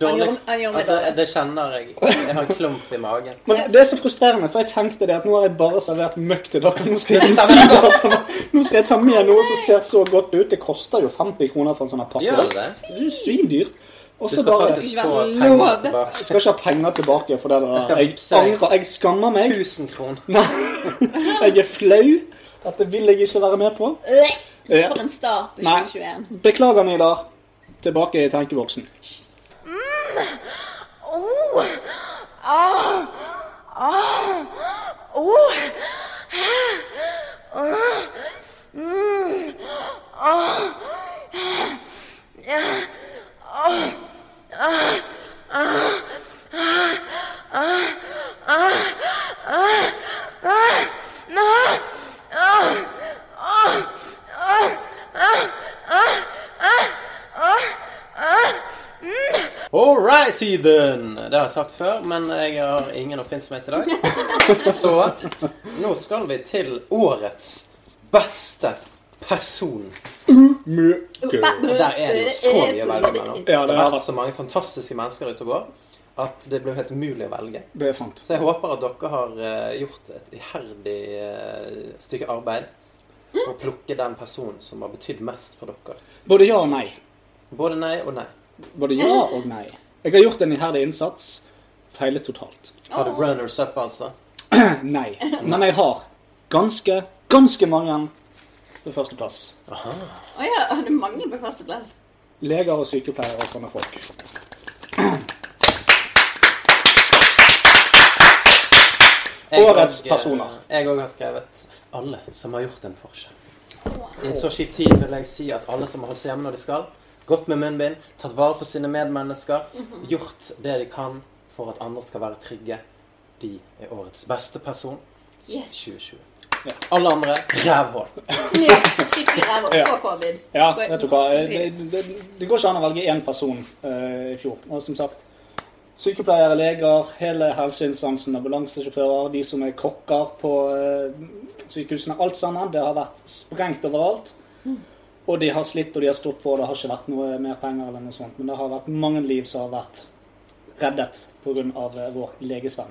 S4: Dårligst.
S6: han gjør meg
S4: Altså,
S6: dårlig.
S4: det kjenner jeg. Jeg har en klump i magen.
S5: Men det er så frustrerende, for jeg tenkte det at nå har jeg bare servert møkk til dere. Nå skal, jeg ta, nå skal jeg ta med noe som ser så godt ut. Det koster jo 50 kroner for en sånn her pakke.
S4: Gjør det?
S5: Det er jo svindyrt. Og
S4: Du
S5: så
S4: skal
S5: bare
S4: faktisk
S6: Ikke
S4: få
S6: være
S4: penger
S6: lov.
S4: tilbake.
S5: Jeg skal ikke ha penger tilbake for det
S4: Jeg skal
S5: der. Jeg
S4: vippse deg.
S5: angrer. Jeg skammer meg.
S4: 1000 kroner.
S5: Nei, jeg er flau. Dette vil jeg ikke være med på.
S6: Øh.
S5: Ja.
S6: For en start på
S5: Nei.
S6: 2021.
S5: Beklager, Nidar. Tilbake i tenkeboksen.
S2: Oh! Ah! Ah! Oh! Ah! Mm. Ah! Ja. Ah! Ah! Ah! Ah! Ah! Ah! Ah! Ah! Ah! Ah! Ah! Ah! Ah! Ah! Ah! Ah! Ah! Mm.
S4: All right, Eden! Det har jeg sagt før, men jeg har ingen oppfinnsomhet i dag. Så nå skal vi til årets beste person.
S5: Møkø.
S4: Og der er det jo så mye å velge mellom. Det
S5: Ja,
S4: har
S5: det er
S4: vært
S5: det.
S4: så mange fantastiske mennesker ute og går at det blir helt umulig å velge.
S5: Det er sant.
S4: Så jeg håper at dere har eh, gjort et iherdig eh, stykke arbeid for å plukke den personen som har betydd mest for dere.
S5: Både ja og nei.
S4: Både nei og nei.
S5: Både ja og nei. Jeg har gjort en iherdig innsats. Feilet totalt.
S4: Har du runners up, altså?
S5: Nei. Men jeg har ganske, ganske mange på førsteplass.
S6: Å ja, å, det er mange på førsteplass.
S5: Leger og sykepleiere og sånne folk.
S4: Jeg
S5: Årets
S4: og-
S5: personer.
S4: Jeg òg har skrevet 'alle som har gjort en forskjell'. I en så kjip tid vil jeg si at alle som har holdt seg hjemme når de skal, gått med munnbind, tatt vare på sine medmennesker, gjort det de kan for at andre skal være trygge, de er årets beste person
S6: Yes.
S4: 2020.
S5: Ja.
S4: Alle andre rævhål.
S6: Nå, Skikkelig ræva.
S5: Ja.
S6: Få covid.
S5: Ja,
S6: Gå-
S5: vet du hva. Eh, Det, det, det går ikke an å velge én person eh, i fjor. Og som sagt, sykepleiere, leger, hele helseinstansen, ambulansesjåfører, de som er kokker på eh, sykehusene. Alt sammen. Det har vært sprengt overalt. Og de har slitt og de har stått på, og det har ikke vært noe mer penger eller noe sånt. Men det har vært mange liv som har vært reddet pga. eh, vår legestand.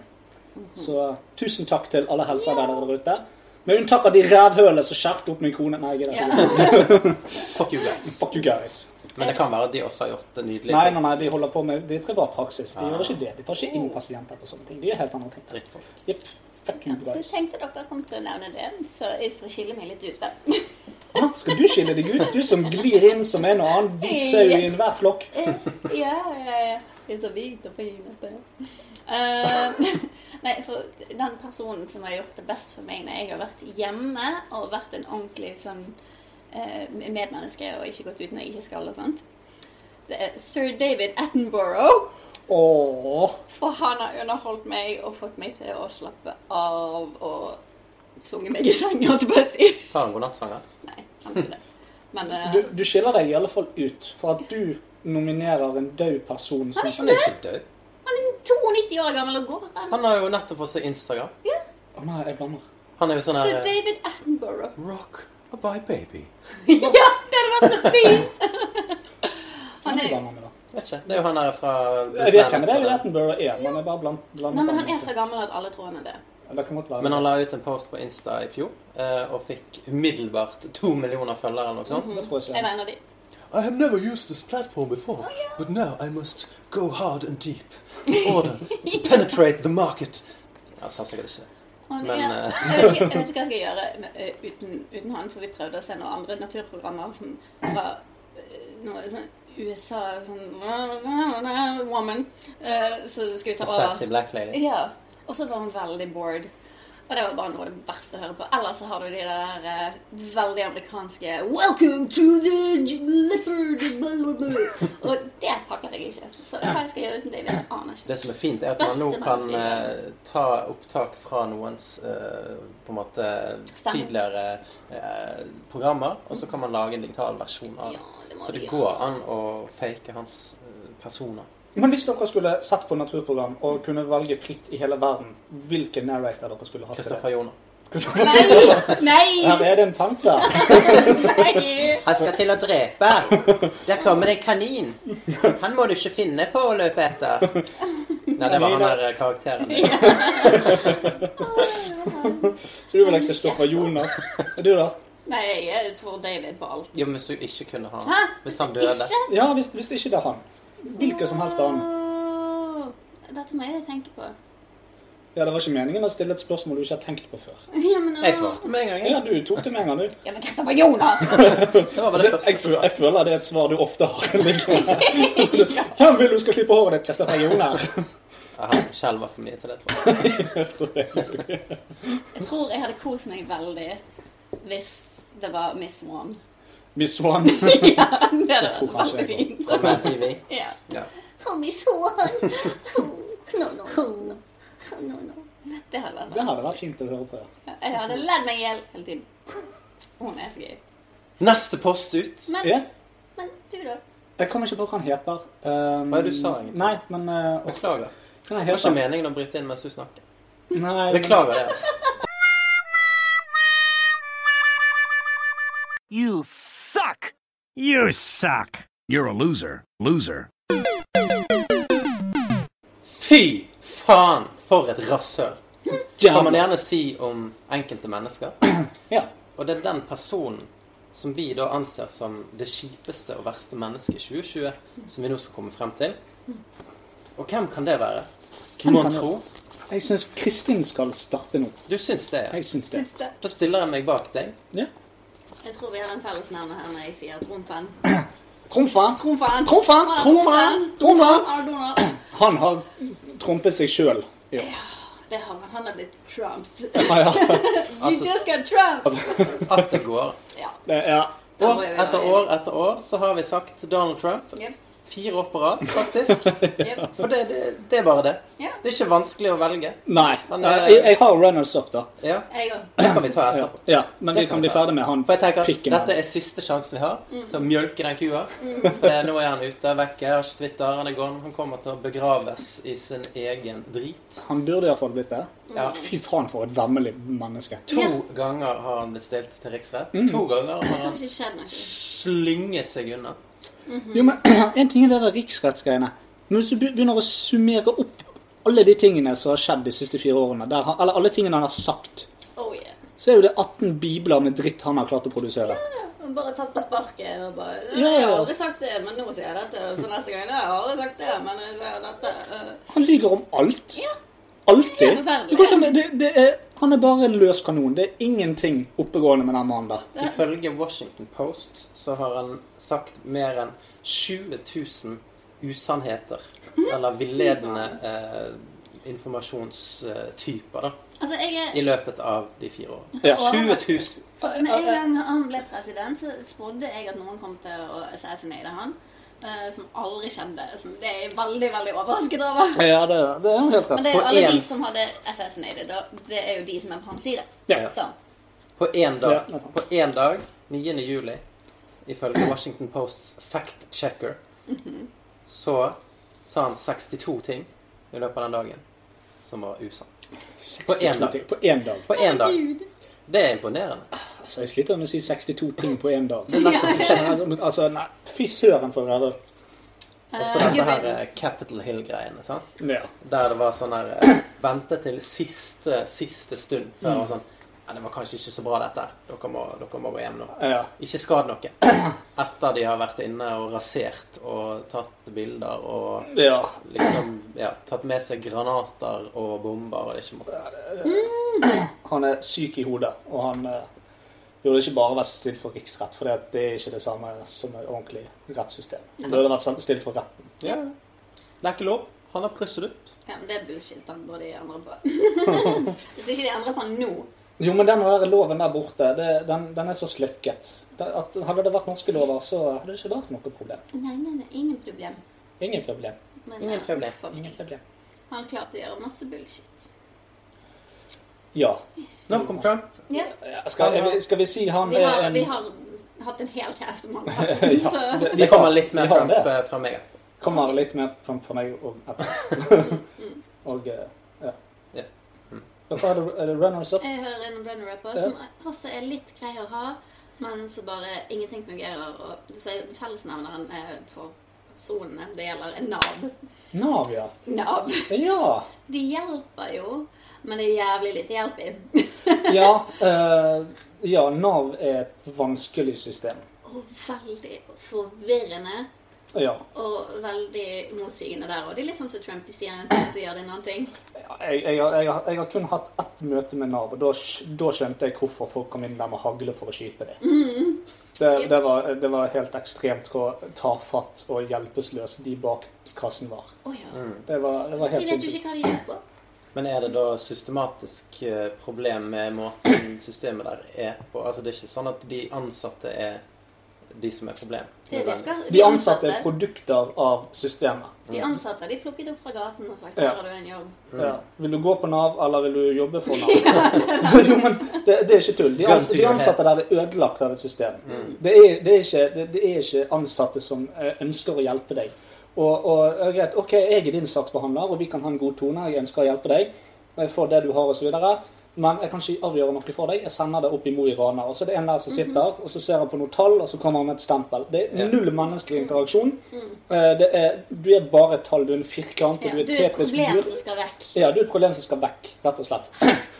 S5: Så eh, tusen takk til alle helsearbeidere der ute. Med unntak av de rævhølene som skjærte opp min kone. Nei, jeg gidder ikke.
S6: Ja.
S4: Fuck you guys.
S5: Fuck you guys.
S4: Men det kan være at de også har gjort det nydelig.
S5: Nei, nei, nei, de holder på med det er privat praksis. De
S4: Ah.
S5: gjør ikke det. De tar ikke inn pasienter på sånne ting. De gjør helt andre ting.
S4: Drittfolk.
S5: Jepp. Fuck you
S6: Jeg
S5: guys.
S6: tenkte dere kom til å nevne det, så jeg får skille meg litt ut. da.
S5: Hæ? Skal du skille deg ut? Du som glir inn som en og annen hvit sau i enhver flokk.
S6: Eh, ja, ja, ja. Jeg er så hvit og fin. at det- Eh, nei, for den personen som har gjort det best for meg når jeg har vært hjemme og vært en ordentlig sånn eh, medmenneske og ikke gått ut når jeg ikke skal og sånt, det er sir David Attenborough.
S5: Åh.
S6: For han har underholdt meg og fått meg til å slappe av og sunget meg i seng, holdt jeg på å si.
S4: Har en godnattsanger.
S6: Nei, han har ikke det. Men eh,
S5: Du, du skiller deg i alle fall ut for at du nominerer en død person som
S4: Han er jo ikke død.
S6: han er 92 år gammel og går an.
S4: Han har jo nettopp fått seg Instagram.
S5: Å nei, jeg blander.
S4: Han er jo sånn
S6: Så
S4: her eh,
S6: David Attenborough.
S4: Rock a bye baby.
S6: ja, det hadde vært så fint! Han
S5: Jeg
S6: er jo
S5: blander meg da.
S4: Vet ikke. Det er jo han der fra
S5: Jeg vet hvem det er. Attenborough er, men jeg bare bland- blander
S6: Nei, men han
S5: meg.
S6: er så gammel at alle tror han er det.
S5: Det kan godt være.
S4: Men han la ut en post på Insta i fjor eh, og fikk umiddelbart to millioner følgere eller noe sånt.
S5: Det tror jeg
S6: Mm.
S5: ikke.
S6: Jeg mener de.
S7: I have never used this platform before, but now I must go hard and deep in order to penetrate the market.
S4: Jeg sa sikkert ikke det.
S6: Han
S4: Men,
S6: er,
S4: eh,
S6: jeg, vet ikke, jeg vet ikke hva jeg skal gjøre med, eh, uten, uten han, for vi prøvde å se noen andre naturprogrammer som var eh, noe sånn USA sånn Woman. eh, Så skulle vi ta
S4: Sassy
S6: over.
S4: black lady.
S6: Ja. Og så var hun veldig bored. Og det var bare noe av det verste å høre på. Ellers så har du de der eh, veldig amerikanske Welcome to the j- leopard blah, blah, blah. Og det takler jeg ikke. Så hva jeg skal gjøre uten det, vet jeg aner
S4: Det
S6: ikke.
S4: som er fint, er at man nå
S6: Beste
S4: kan
S6: menneske i verden.
S4: eh, ta opptak fra noens eh, på en måte
S6: Stemme.
S4: tidligere eh, programmer, og så kan man lage en digital versjon av
S6: Ja, det må
S4: Så
S6: vi
S4: det
S6: gjøre.
S4: går an å fake hans eh, personer.
S5: Men hvis dere skulle sett på naturprogram og kunne velge fritt i hele verden, hvilken narrator dere skulle hatt til det?
S4: Kristoffer Joner.
S6: Nei!
S5: Her
S6: Nei!
S5: er det en panter.
S6: Nei!
S4: Han skal til å drepe! Der kommer det en kanin! Han må du ikke finne på å løpe etter. Nei, det var han der eh, karakteren.
S5: Så du vil ha Kristoffer Joner. Og du, da?
S6: Nei, jeg er for David på alt.
S4: Jo, men hvis du ikke kunne ha
S6: Hæ?
S4: Hvis han døde.
S6: Ikke?
S5: Ja, hvis, hvis ikke det er han. Hvilken som helst annen.
S6: Åh, Dette må jeg tenke på.
S5: Ja, Det var ikke meningen å stille et spørsmål du ikke har tenkt på før.
S6: Ja, men, åh.
S4: Jeg svarte med en gang.
S5: Ja,
S4: jeg.
S5: du tok det med en gang, du.
S6: Ja, men Kristoffer Jonas!
S4: Det var vel det
S5: Det, jeg,
S4: første.
S5: føl- jeg føler det er et svar du ofte har. liggende. Hvem vil du skal klippe håret ditt? Kristoffer Joner.
S4: Aha, Skjelv var for mye til det, tror jeg.
S6: Jeg tror jeg hadde kost meg veldig hvis det var Miss One.
S5: Miss Swan.
S6: Ja, det hadde vært
S5: tror kanskje
S6: veldig
S5: jeg
S6: fint.
S4: Kom med TV.
S6: Ja.
S4: Ja.
S6: Oh, Miss One! No, no, no. no, no. Det hadde vært
S5: Det hadde vært fint å høre på. ja.
S6: Jeg hadde ledd meg i hjel hele tiden. Hun er så gøy.
S4: Neste post ut.
S6: Men,
S5: Ja.
S6: men du, da?
S5: Jeg kommer ikke på hva han heter. Um,
S4: Hva er det du sa egentlig?
S5: Nei, men eh, åh,
S4: Beklager.
S5: hva
S4: Det var ikke
S5: heter han?
S4: meningen å bryte inn mens du snakker.
S5: Nei, men-
S4: Beklager det, altså.
S8: You suck! You suck! You're a loser. Loser.
S4: Fy faen! For et rasshøl. Det kan man
S5: Ja.
S4: gjerne si om enkelte mennesker.
S5: Ja.
S4: Og det er den personen som vi da anser som det kjipeste og verste mennesket i 2020, som vi nå skal komme frem til. Og hvem kan det være? Mon
S5: kan det-
S4: tro?
S5: Jeg syns Kristin skal starte nå.
S4: Du syns det, ja.
S5: Jeg syns det.
S4: Da stiller jeg meg bak deg.
S5: Ja.
S6: Jeg tror vi har en fellesnevner her når jeg sier trumfen.
S5: Trumfen. Trumfen!
S6: Trumfen! Han har
S5: Trumfen!
S6: Trumfen!
S5: Trumfen!
S6: Han har Donald.
S5: Han har trumpet seg sjøl. Ja.
S6: Det har han. Han har blitt trumped.
S5: Ja, ja.
S6: You just got trumped!
S4: Altså, At det går.
S6: Ja.
S5: Det, ja.
S6: da
S4: År
S6: må jeg være
S4: etter
S6: enig.
S4: år etter år så har vi sagt Donald Trump
S6: Jep,
S4: fire år på rad, faktisk.
S6: jep,
S4: For det, det, det er bare det.
S6: Ja.
S4: Det er ikke vanskelig å velge.
S5: Nei.
S4: Men,
S5: eh,
S4: eh,
S5: Jeg, jeg har runners up, da.
S4: Ja,
S6: Jeg òg.
S4: Det kan vi ta
S5: Ja,
S4: etterpå.
S5: ja. Men
S4: Det
S5: vi
S4: kan
S5: kan
S4: vi
S5: bli
S4: ta.
S5: ferdig med han
S4: For jeg tenker at
S5: pikken.
S4: dette er siste sjansen vi har
S6: Mm.
S4: til å mjølke den kua. For det- nå er han ute, vekke, har ikke Twitter, han er gone. Han kommer til å begraves i sin egen drit.
S5: Han burde iallfall blitt det.
S6: Mm.
S4: Ja.
S5: Fy faen, for et vemmelig menneske.
S4: To ganger har han blitt stilt til riksrett. To ganger har
S6: Det
S4: han
S6: har ikke skjedd noe.
S4: slynget seg unna.
S5: Jo, men En ting er det der riksrettsgreiene. Men hvis du be- begynner å summere opp alle de tingene som har skjedd de siste fire årene, der han, eller alle tingene han har sagt,
S6: Oh yeah.
S5: så er jo det 18 bibler med dritt han har klart å produsere.
S6: Og Bare tatt på sparket og bare
S5: Ja, ja.
S6: Jeg har aldri sagt det, men nå sier jeg dette. Og så neste gang «Nei, Jeg har aldri sagt det, men jeg sier dette. eh,
S5: Han lyver om alt.
S6: Ja. Det er
S5: Alltid.
S6: forferdelig.
S5: Det går ikke an- det, det er, han er bare en løs kanon. Det er ingenting oppegående med den mannen der.
S4: Ifølge Washington Post så har han sagt mer enn 20 000 usannheter. Eller villedende eh, informasjonstyper, da.
S6: Altså, jeg er
S4: I løpet av de fire årene.
S5: Ja.
S4: 20 000.
S6: For Med en gang han ble president, så spådde jeg at noen kom til å assassinate han. eh, Som aldri skjedde. Som det er jeg veldig, veldig overrasket over.
S5: Ja, det, det er jo helt
S6: Men
S5: rett.
S6: det er jo
S4: På
S6: alle de
S4: en-
S6: som hadde assassinated, og det er jo de som er på hans side.
S5: Ja.
S6: Så
S4: På én dag.
S5: Ja, det er sant.
S4: På én dag, 9. juli, ifølge Washington Posts fact checker, så sa han 62 ting i løpet av den dagen som var usann. På én dag.
S5: På én dag.
S4: På én dag. Det er imponerende.
S5: Altså, jeg sliter med å si 62 ting på én dag.
S4: Det er nettopp det.
S5: Men Altså, nei, fy søren for å være
S4: Og så dette her eh, Capitol Hill-greiene. sant?
S5: ja.
S4: Der det var sånn her eh, Vente til siste, siste stund. Før det var sånn Ja, det var kanskje ikke så bra, dette. her. Dere må, dere må gå hjem nå.
S5: ja.
S4: Ikke skad noe. Etter de har vært inne og rasert og tatt bilder og
S5: Ja.
S4: liksom Ja, tatt med seg granater og bomber og det er ikke måte.
S5: Han er syk i hodet, og han eh, burde ikke bare vært stilt for riksrett, for det- det er ikke det samme som et ordentlig rettssystem. Han burde vært stilt for retten.
S4: Ja. Det er ikke lov. Han har prusset ut.
S6: ja, men det er bullshit. Den burde de andre på. Hvis ikke de endrer på han nå
S5: Jo, men den der loven der borte, det, den, den er så sløkket. Det- At hadde det vært norske lover, så hadde det ikke vært noe problem.
S6: Nei, nei, nei. Ingen problem.
S5: Ingen problem.
S6: Men,
S4: Ingen
S6: eh,
S4: problem.
S6: for meg.
S5: Ingen problem.
S6: Han klarte å gjøre masse bullshit.
S5: Ja. Eh,
S4: Nok om Trump.
S6: Ja.
S5: Skal, er vi- skal vi si han
S6: Vi,
S5: er
S6: har,
S5: en
S6: vi har hatt en hel cast om han.
S5: Ja,
S6: Så
S5: det- vi
S4: Det kommer
S5: har-
S4: litt mer
S5: vi har
S4: Trump
S5: det.
S4: eh, fra meg.
S5: Kommer litt mer Trump fra meg og etterpå. og eh, ja.
S4: Ja.
S5: Dere er det, er det runners up?
S6: Jeg hører en runner-upper som også er litt grei å ha, men så bare ingenting fungerer. Og så er fellesnevneren eh, for sonene det gjelder, er Nav.
S5: Nav, ja.
S6: Nav.
S5: Ja.
S6: De hjelper jo, men det er jævlig lite hjelp i.
S5: Ja, eh, ja, Nav er et vanskelig system.
S6: Og veldig forvirrende
S5: Ja.
S6: og veldig motsigende der òg. Det er litt sånn som Trump. De sier en ting, så gjør de en annen ting.
S5: Jeg, jeg, har- jeg, har- jeg har kun hatt ett møte med Nav, og da, skj- da skjønte jeg hvorfor folk kom inn der med hagle for å skyte dem. Det, det, var, det var helt ekstremt hvor tafatt og hjelpeløs de bak kassen var.
S6: Å ja.
S5: Det var, Mm, det var
S6: De
S5: helt
S6: vet jo
S5: sinnssykt.
S6: ikke hva de gjør på.
S4: Men er det da systematisk eh, problem med måten systemet der er på? Altså Det er ikke sånn at de ansatte er de som er problem?
S6: Det virker.
S5: De ansatte er produkter av systemet.
S6: de ansatte de plukket opp fra gaten og sagt
S5: Ja.
S6: 'Her har du en jobb'.
S5: Ja. Vil du gå på Nav, eller vil du jobbe for Nav? jo, men det, det er ikke tull. De, ans
S4: Gun to
S5: de
S4: your
S5: ansatte der er ødelagt av et system. Det, er, det, er ikke, det, det er ikke ansatte som eh, ønsker å hjelpe deg. Og, og ja, greit, OK, jeg er din saksbehandler, og vi kan ha en god tone. Jeg ønsker å hjelpe deg. og Jeg får det du har, og så videre. Men jeg kan ikke avgjøre noe for deg. Jeg sender det opp i Mo i Rana. Og så er det en der som sitter, og så ser han på noen tall, og så kommer han med et stempel. Det er null menneskelig interaksjon. Eh, Det er, du er bare et tall. Du er en firkant,
S6: Ja,
S5: og du er
S6: du
S5: et
S6: er et
S5: tetrisk
S6: problem
S5: bur.
S6: som skal vekk.
S5: Ja, du er et problem som skal vekk, rett og slett.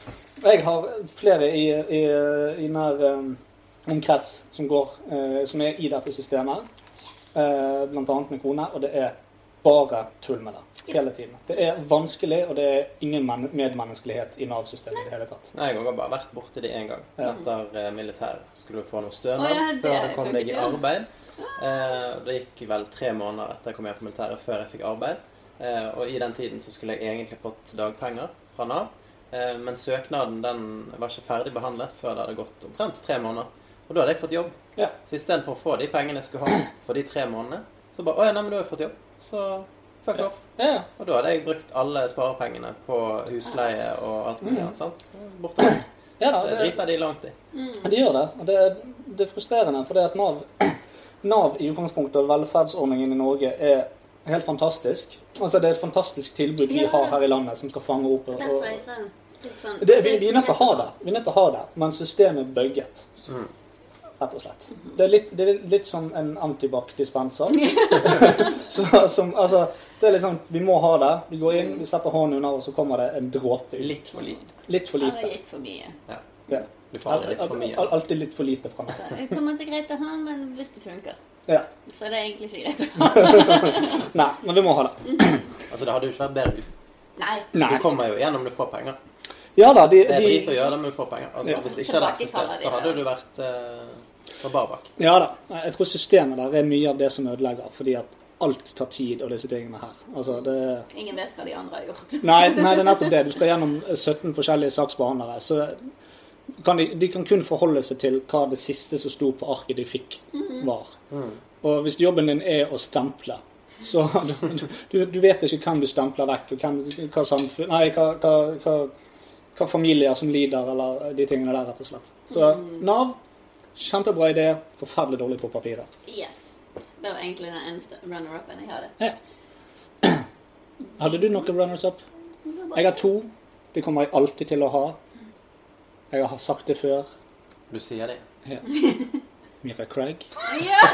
S5: Jeg har flere i, i, i nær um, omkrets som går, eh, som er i dette systemet. Eh, blant annet min kone, og det er bare tull med det hele tiden. Det er vanskelig, og det er ingen men- medmenneskelighet i Nav-systemet i det hele tatt.
S4: Nei, jeg har bare vært borti det én gang. Etter eh, militæret skulle du få noe stønad
S6: Å, ja, det
S4: før du
S6: er
S4: kom
S6: jo
S4: deg i
S6: ikke det.
S4: arbeid. Eh, og det gikk vel tre måneder etter jeg kom hjem fra militæret, før jeg fikk arbeid. Eh, og i den tiden så skulle jeg egentlig fått dagpenger fra Nav, eh, men søknaden den var ikke ferdig behandlet før det hadde gått omtrent tre måneder. Og da hadde jeg fått jobb.
S5: Ja.
S4: Så istedenfor å få de pengene jeg skulle hatt for de tre månedene, så bare Å ja, nei, men du har jo fått jobb. Så fuck off.
S5: Ja, ja.
S4: Og da hadde jeg brukt alle sparepengene på husleie og alt mulig annet. sant? Borte.
S5: ja da,
S4: Det
S5: det,
S4: driter de langt i.
S5: de gjør det. Og det, er- det er frustrerende, fordi at Nav, NAV i utgangspunktet og velferdsordningen i Norge er helt fantastisk. Altså, det er et fantastisk tilbud vi
S6: Ja.
S5: har her i landet som skal fange opp og,
S6: Derfor
S5: og
S6: er jeg sånn litt sånn
S5: det, vi, vi er nødt til å ha det. Vi er nødt til å ha det, men systemet er bugget.
S4: Mm.
S5: Rett og slett. Det er litt, det er litt som en antibac-dispenser. Så- som, altså, det er liksom, vi må ha det. Vi går inn, vi setter hånden under, og så kommer det en dråpe ut.
S4: Litt for lite.
S5: Litt for
S6: Ja, det er
S5: lite.
S6: litt for mye.
S4: Ja.
S5: Ja.
S4: Du får aldri litt for mye.
S5: Al- Alltid litt for lite fra meg.
S6: Det kommer til greit å ha, men hvis det funker,
S5: Ja.
S6: så er det egentlig ikke greit.
S5: Nei, men vi må ha det.
S4: Altså, Det hadde jo ikke vært bedre. ut.
S6: Nei.
S4: Du
S5: Nei.
S4: kommer jo igjen om du får penger.
S5: Ja da, de,
S4: Det er drit å
S5: de
S4: gjøre det, men du får penger. Altså,
S5: Ja.
S4: Hvis det ikke hadde eksistert, så hadde du vært eh, på bar bak.
S5: Ja da. Jeg tror systemet der er mye av det som ødelegger, fordi at alt tar tid og disse tingene her. Altså, det er
S6: Ingen vet hva de andre har gjort.
S5: Nei, nei, det er nettopp det. Du skal gjennom 17 forskjellige saksbehandlere. Så kan de, de kan kun forholde seg til hva det siste som sto på arket de fikk, var. Og hvis jobben din er å stemple, så du, du, du vet ikke hvem du stempler vekk, og hvem, hva samfunn Nei, hva, hva, hva, hva familier som lider, eller de tingene der, rett og slett. Så Nav, kjempebra idé, forferdelig dårlig på papiret.
S6: Yes. Det var egentlig den eneste runner-upen jeg hadde.
S5: Ja. Hadde du noen runners up? Jeg har to. Det kommer jeg alltid til å ha. Jeg har sagt det før.
S4: Du sier det.
S5: Mira Craig.
S6: Ja!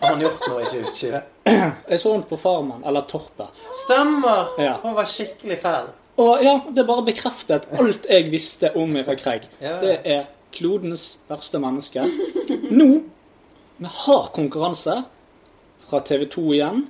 S4: Har han gjort noe i 2020?
S5: Jeg så henne på Farmen, eller Torpet.
S4: Stemmer!
S5: Ja.
S4: Han var skikkelig fæl.
S5: Og ja, det bare bekreftet alt jeg visste om Mira Craig.
S4: Ja.
S5: Det er klodens verste menneske. Nå, med hard konkurranse fra TV 2 igjen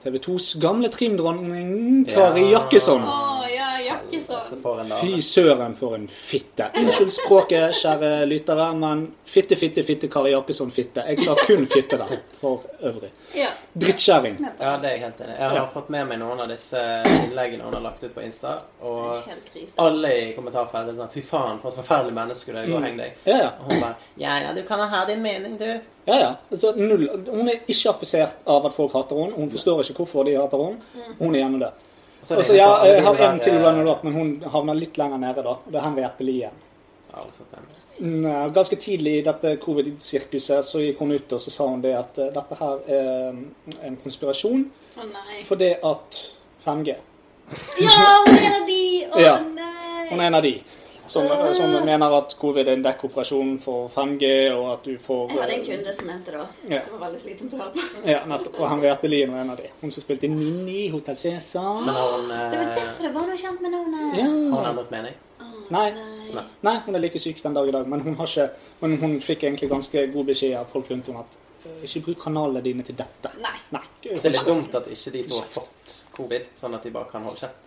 S5: TV 2s gamle trimdronning Kari
S4: Ja.
S5: Jakkesson.
S6: Å ja, Jakkesson.
S4: For en
S5: Fy
S4: dame.
S5: søren for en fitte. Unnskyld språket, kjære lyttere, men fitte, fitte, fitte, Kari Jakkesson, fitte. Jeg sa kun fitte der, for øvrig.
S6: Ja.
S5: Drittkjerring.
S4: Ja, det er jeg helt enig i. Jeg har fått med meg noen av disse innleggene hun har lagt ut på Insta. Og
S6: Helt krise.
S4: alle i kommentarfeltet er sånn Fy faen, for et forferdelig menneske du er. Gå og heng deg.
S5: Ja, ja.
S4: Og hun bare Ja, ja, du kan ha din mening, du.
S5: ja, ja. Altså, null. Hun er ikke affisert av at folk hater henne. Hun forstår ikke hvorfor de hater henne. Hun er hjemme død.
S4: Så
S5: Og så, ja, jeg har en til
S4: runner
S5: runner-up, men hun havner litt lenger nede, da. Det er Henriette Lien.
S4: opp.
S5: Nei, Mm, eh, Ganske tidlig i dette covid-sirkuset så gikk hun ut og så sa hun det at eh, dette her er en konspirasjon
S6: Å nei.
S5: fordi at 5G
S6: Ja, hun er en av de! Å
S5: Ja.
S6: nei!
S5: Hun er en av de som,
S6: Eh.
S5: som mener at covid er en dekkoperasjon for 5G, og at du får eh,
S6: Jeg hadde en kunde som mente det. også.
S5: Ja.
S6: Det var veldig slitsomt å høre på.
S5: Ja, nettopp. Og Henriette Lien var en av de. Hun som spilte Nini i Hotell Cæsar.
S4: Men har hun,
S6: Det var
S4: eh,
S6: derfor det var noe kjent med navnet.
S5: Ja.
S4: har hun endret mening?
S5: Nei. Nei, hun er like syk den dag i dag, men hun, har ikke, men hun fikk egentlig ganske god beskjed av folk rundt henne at eh, ikke bruk kanalene dine til dette.
S6: Nei.
S5: Nei.
S4: Det er litt dumt at ikke de to har fått covid, sånn at de bare kan holde kjeft.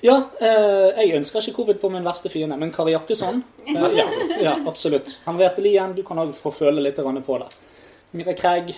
S5: Ja, eh, jeg ønsker ikke covid på min verste fiende, men Kari Jakkesson eh, ja, ja, absolutt. Henriette Lien, du kan òg få føle litt grann på det. Mira Kræg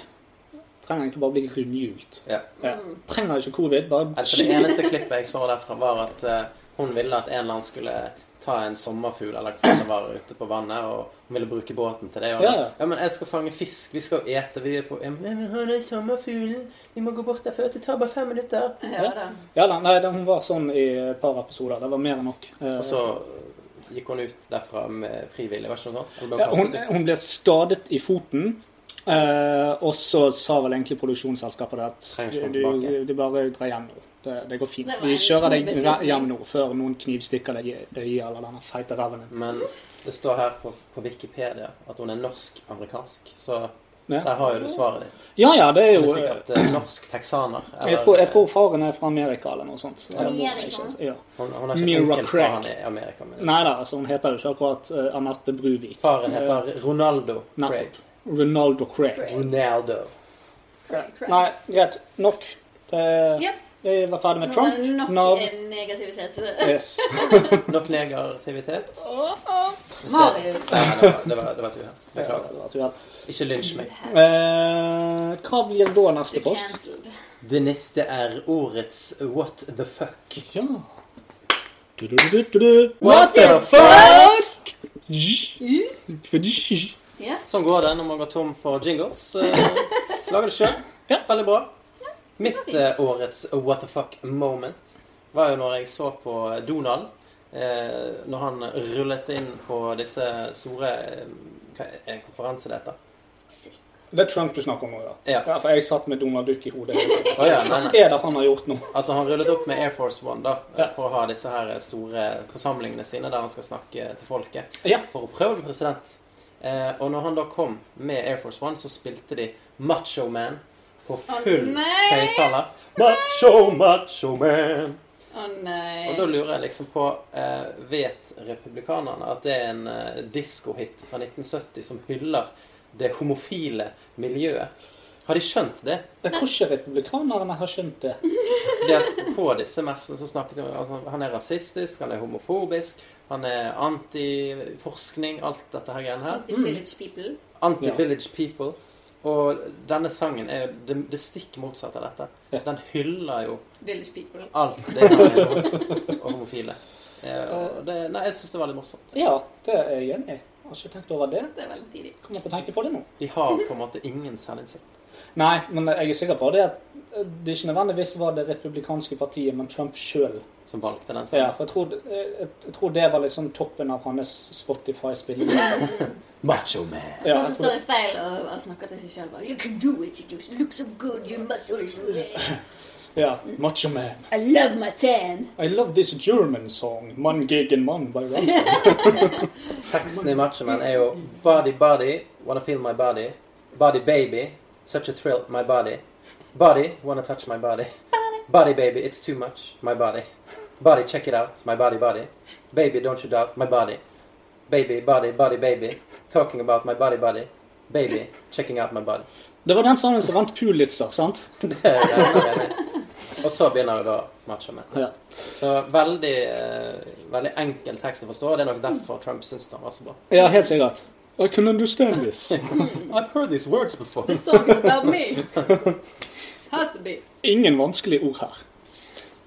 S5: trenger egentlig bare bli rundhjult.
S4: Ja.
S5: Ja. Trenger ikke covid, bare
S4: Altså, det eneste klippet jeg så derfra, var at eh, hun ville at en eller annen skulle ta en sommerfugl eller hva det var ute på vannet, og hun ville bruke båten til det. Og,
S5: Ja, ja.
S4: ja, men jeg skal fange fisk, vi skal jo ete, vi er på ja, Men hør, det er sommerfuglen, vi må gå bort derfra, det tar bare fem minutter.
S6: Ja, da.
S5: Ja da, nei, det- hun var sånn i et par episoder. Det var mer enn nok. Eh,
S4: Og så eh, gikk hun ut derfra med frivillig, var det ikke noe sånt? Hun ble
S5: ja, hun,
S4: kastet ut.
S5: hun ble skadet i foten. eh, og så sa vel egentlig produksjonsselskapet det at
S4: Trenger ikke komme
S5: du,
S4: tilbake.
S5: du bare drar hjem nå. Det, det går fint.
S6: Det var
S5: Vi
S6: en
S5: kjører deg
S6: god beslutning.
S5: hjem nå før noen knivstikker deg i øyet eller denne feite reven din.
S4: Men det står her på, på Wikipedia at hun er norsk-amerikansk, så
S5: Ja.
S4: der har jo du svaret ditt.
S5: Ja ja, det er
S4: Hun
S5: jo eh,
S4: er sikkert eh, norsk texaner.
S5: jeg tror, jeg tror faren er fra Amerika eller noe sånt. Eller hvor-
S6: Amerika?
S5: ikke- Ja.
S4: Hun, hun har
S5: Mira
S4: ikke onkel
S5: Craig.
S4: fra han i Amerika, men
S5: Nei da, altså, hun heter jo ikke akkurat eh, Anette Bruvik.
S4: faren heter Ronaldo Craig.
S5: Nettopp. Ronaldo Craig.
S4: Ronaldo.
S5: Nei, greit. Nok til
S6: Yep.
S5: Vi var ferdig med
S6: Nå
S5: Trump.
S6: er det nok
S5: Nav.
S6: eh, negativitet.
S5: Yes.
S4: Nok negativitet.
S6: Marius.
S4: Nei, nei, det var, det var, det var et uhell.
S5: Ja, det
S4: Beklager.
S5: var et uhell.
S4: Ikke lynsj meg.
S5: Eh, hva blir da neste
S6: Du
S5: post?
S6: cancelled.
S4: Det neste er årets What the fuck.
S5: Ja. Du-du-du-du-du. What the fuck?
S6: Ja.
S4: Sånn går det når man går tom for jingles. Eh, Lager det sjøl.
S5: Ja.
S4: Veldig bra. Mitt eh, årets what the fuck moment var jo når jeg så på Donald. Eh, når han rullet inn på disse store eh, hva Er det en konferanse det heter?
S5: Det er Trump du snakker om nå, ja.
S4: Ja.
S5: ja. For jeg satt med Donald Duck i hodet.
S4: Å ja, nei,
S5: Hva
S4: nei.
S5: er det han har gjort nå?
S4: Altså Han rullet opp med Air Force One da eh,
S5: Ja.
S4: for å ha disse her eh, store forsamlingene sine der han skal snakke til folket.
S5: Ja.
S4: for å prøve å bli president. Eh, og når han da kom med Air Force One, så spilte de Macho Man på full
S6: nei!
S4: høyttaler. Macho, macho man.
S6: Å nei.
S4: Og da lurer jeg liksom på eh, Vet republikanerne at det er en eh, diskohit fra 1970 som hyller det homofile miljøet? Har de skjønt det?
S5: Jeg tror ikke republikanerne har skjønt det.
S4: Fordi at på disse messene så snakket de om altså, Han er rasistisk, han er homofobisk, han er antiforskning, alt dette her greiene her.
S6: The Village People.
S5: Mm.
S4: Anti-Village People. Og denne sangen er jo det, det stikk motsatte av dette. Den hyller jo
S6: Village People.
S4: alt det han har gjort, og homofile. Eh, og det, nei, jeg syns det var litt morsomt.
S5: Ja, det er jeg enig i. Jeg Har ikke tenkt over det.
S6: Det er veldig tidlig.
S5: Kommer til å tenke på det nå.
S4: De har på en måte ingen selvinnsikt.
S5: Nei, men jeg er sikker på det at eh, det ikke nødvendigvis var det republikanske partiet, men Trump sjøl.
S4: Som valgte den
S5: Ja,
S4: sangen.
S5: for jeg tror, eh, jeg, jeg tror det var liksom toppen av hans Spotify-spilling.
S4: Macho man.
S5: Ja, jeg
S6: Sånn som
S5: tror-
S6: står i speil og, og snakker til seg sjøl bare You can do it, you just look so good, you muscles.
S5: ja. Macho Man.
S6: I love my tan.
S5: I love this German song, Man gegen Mann, by Rammstein.
S4: Teksten i Macho Man er jo Body, body, wanna feel my body. Body, baby, such a thrill, my body. Body, wanna touch my body. Body, baby, it's too much, my body. Body, check it out, my body, body. Baby, don't you doubt, my body. Baby, body, body, baby. Talking about my body, body. Baby, checking out my body.
S5: Det var den sangen som vant Pulitzer, sant?
S4: Det er jeg enig i. Og så begynner jo da matchen med.
S5: Ja.
S4: Så veldig, eh, veldig enkel tekst å forstå. Det er nok derfor Trump syns den var så bra.
S5: Ja, helt sikkert. I can understand this.
S4: I've heard these words before.
S6: The song is about me. Has to be.
S5: Ingen vanskelige ord her.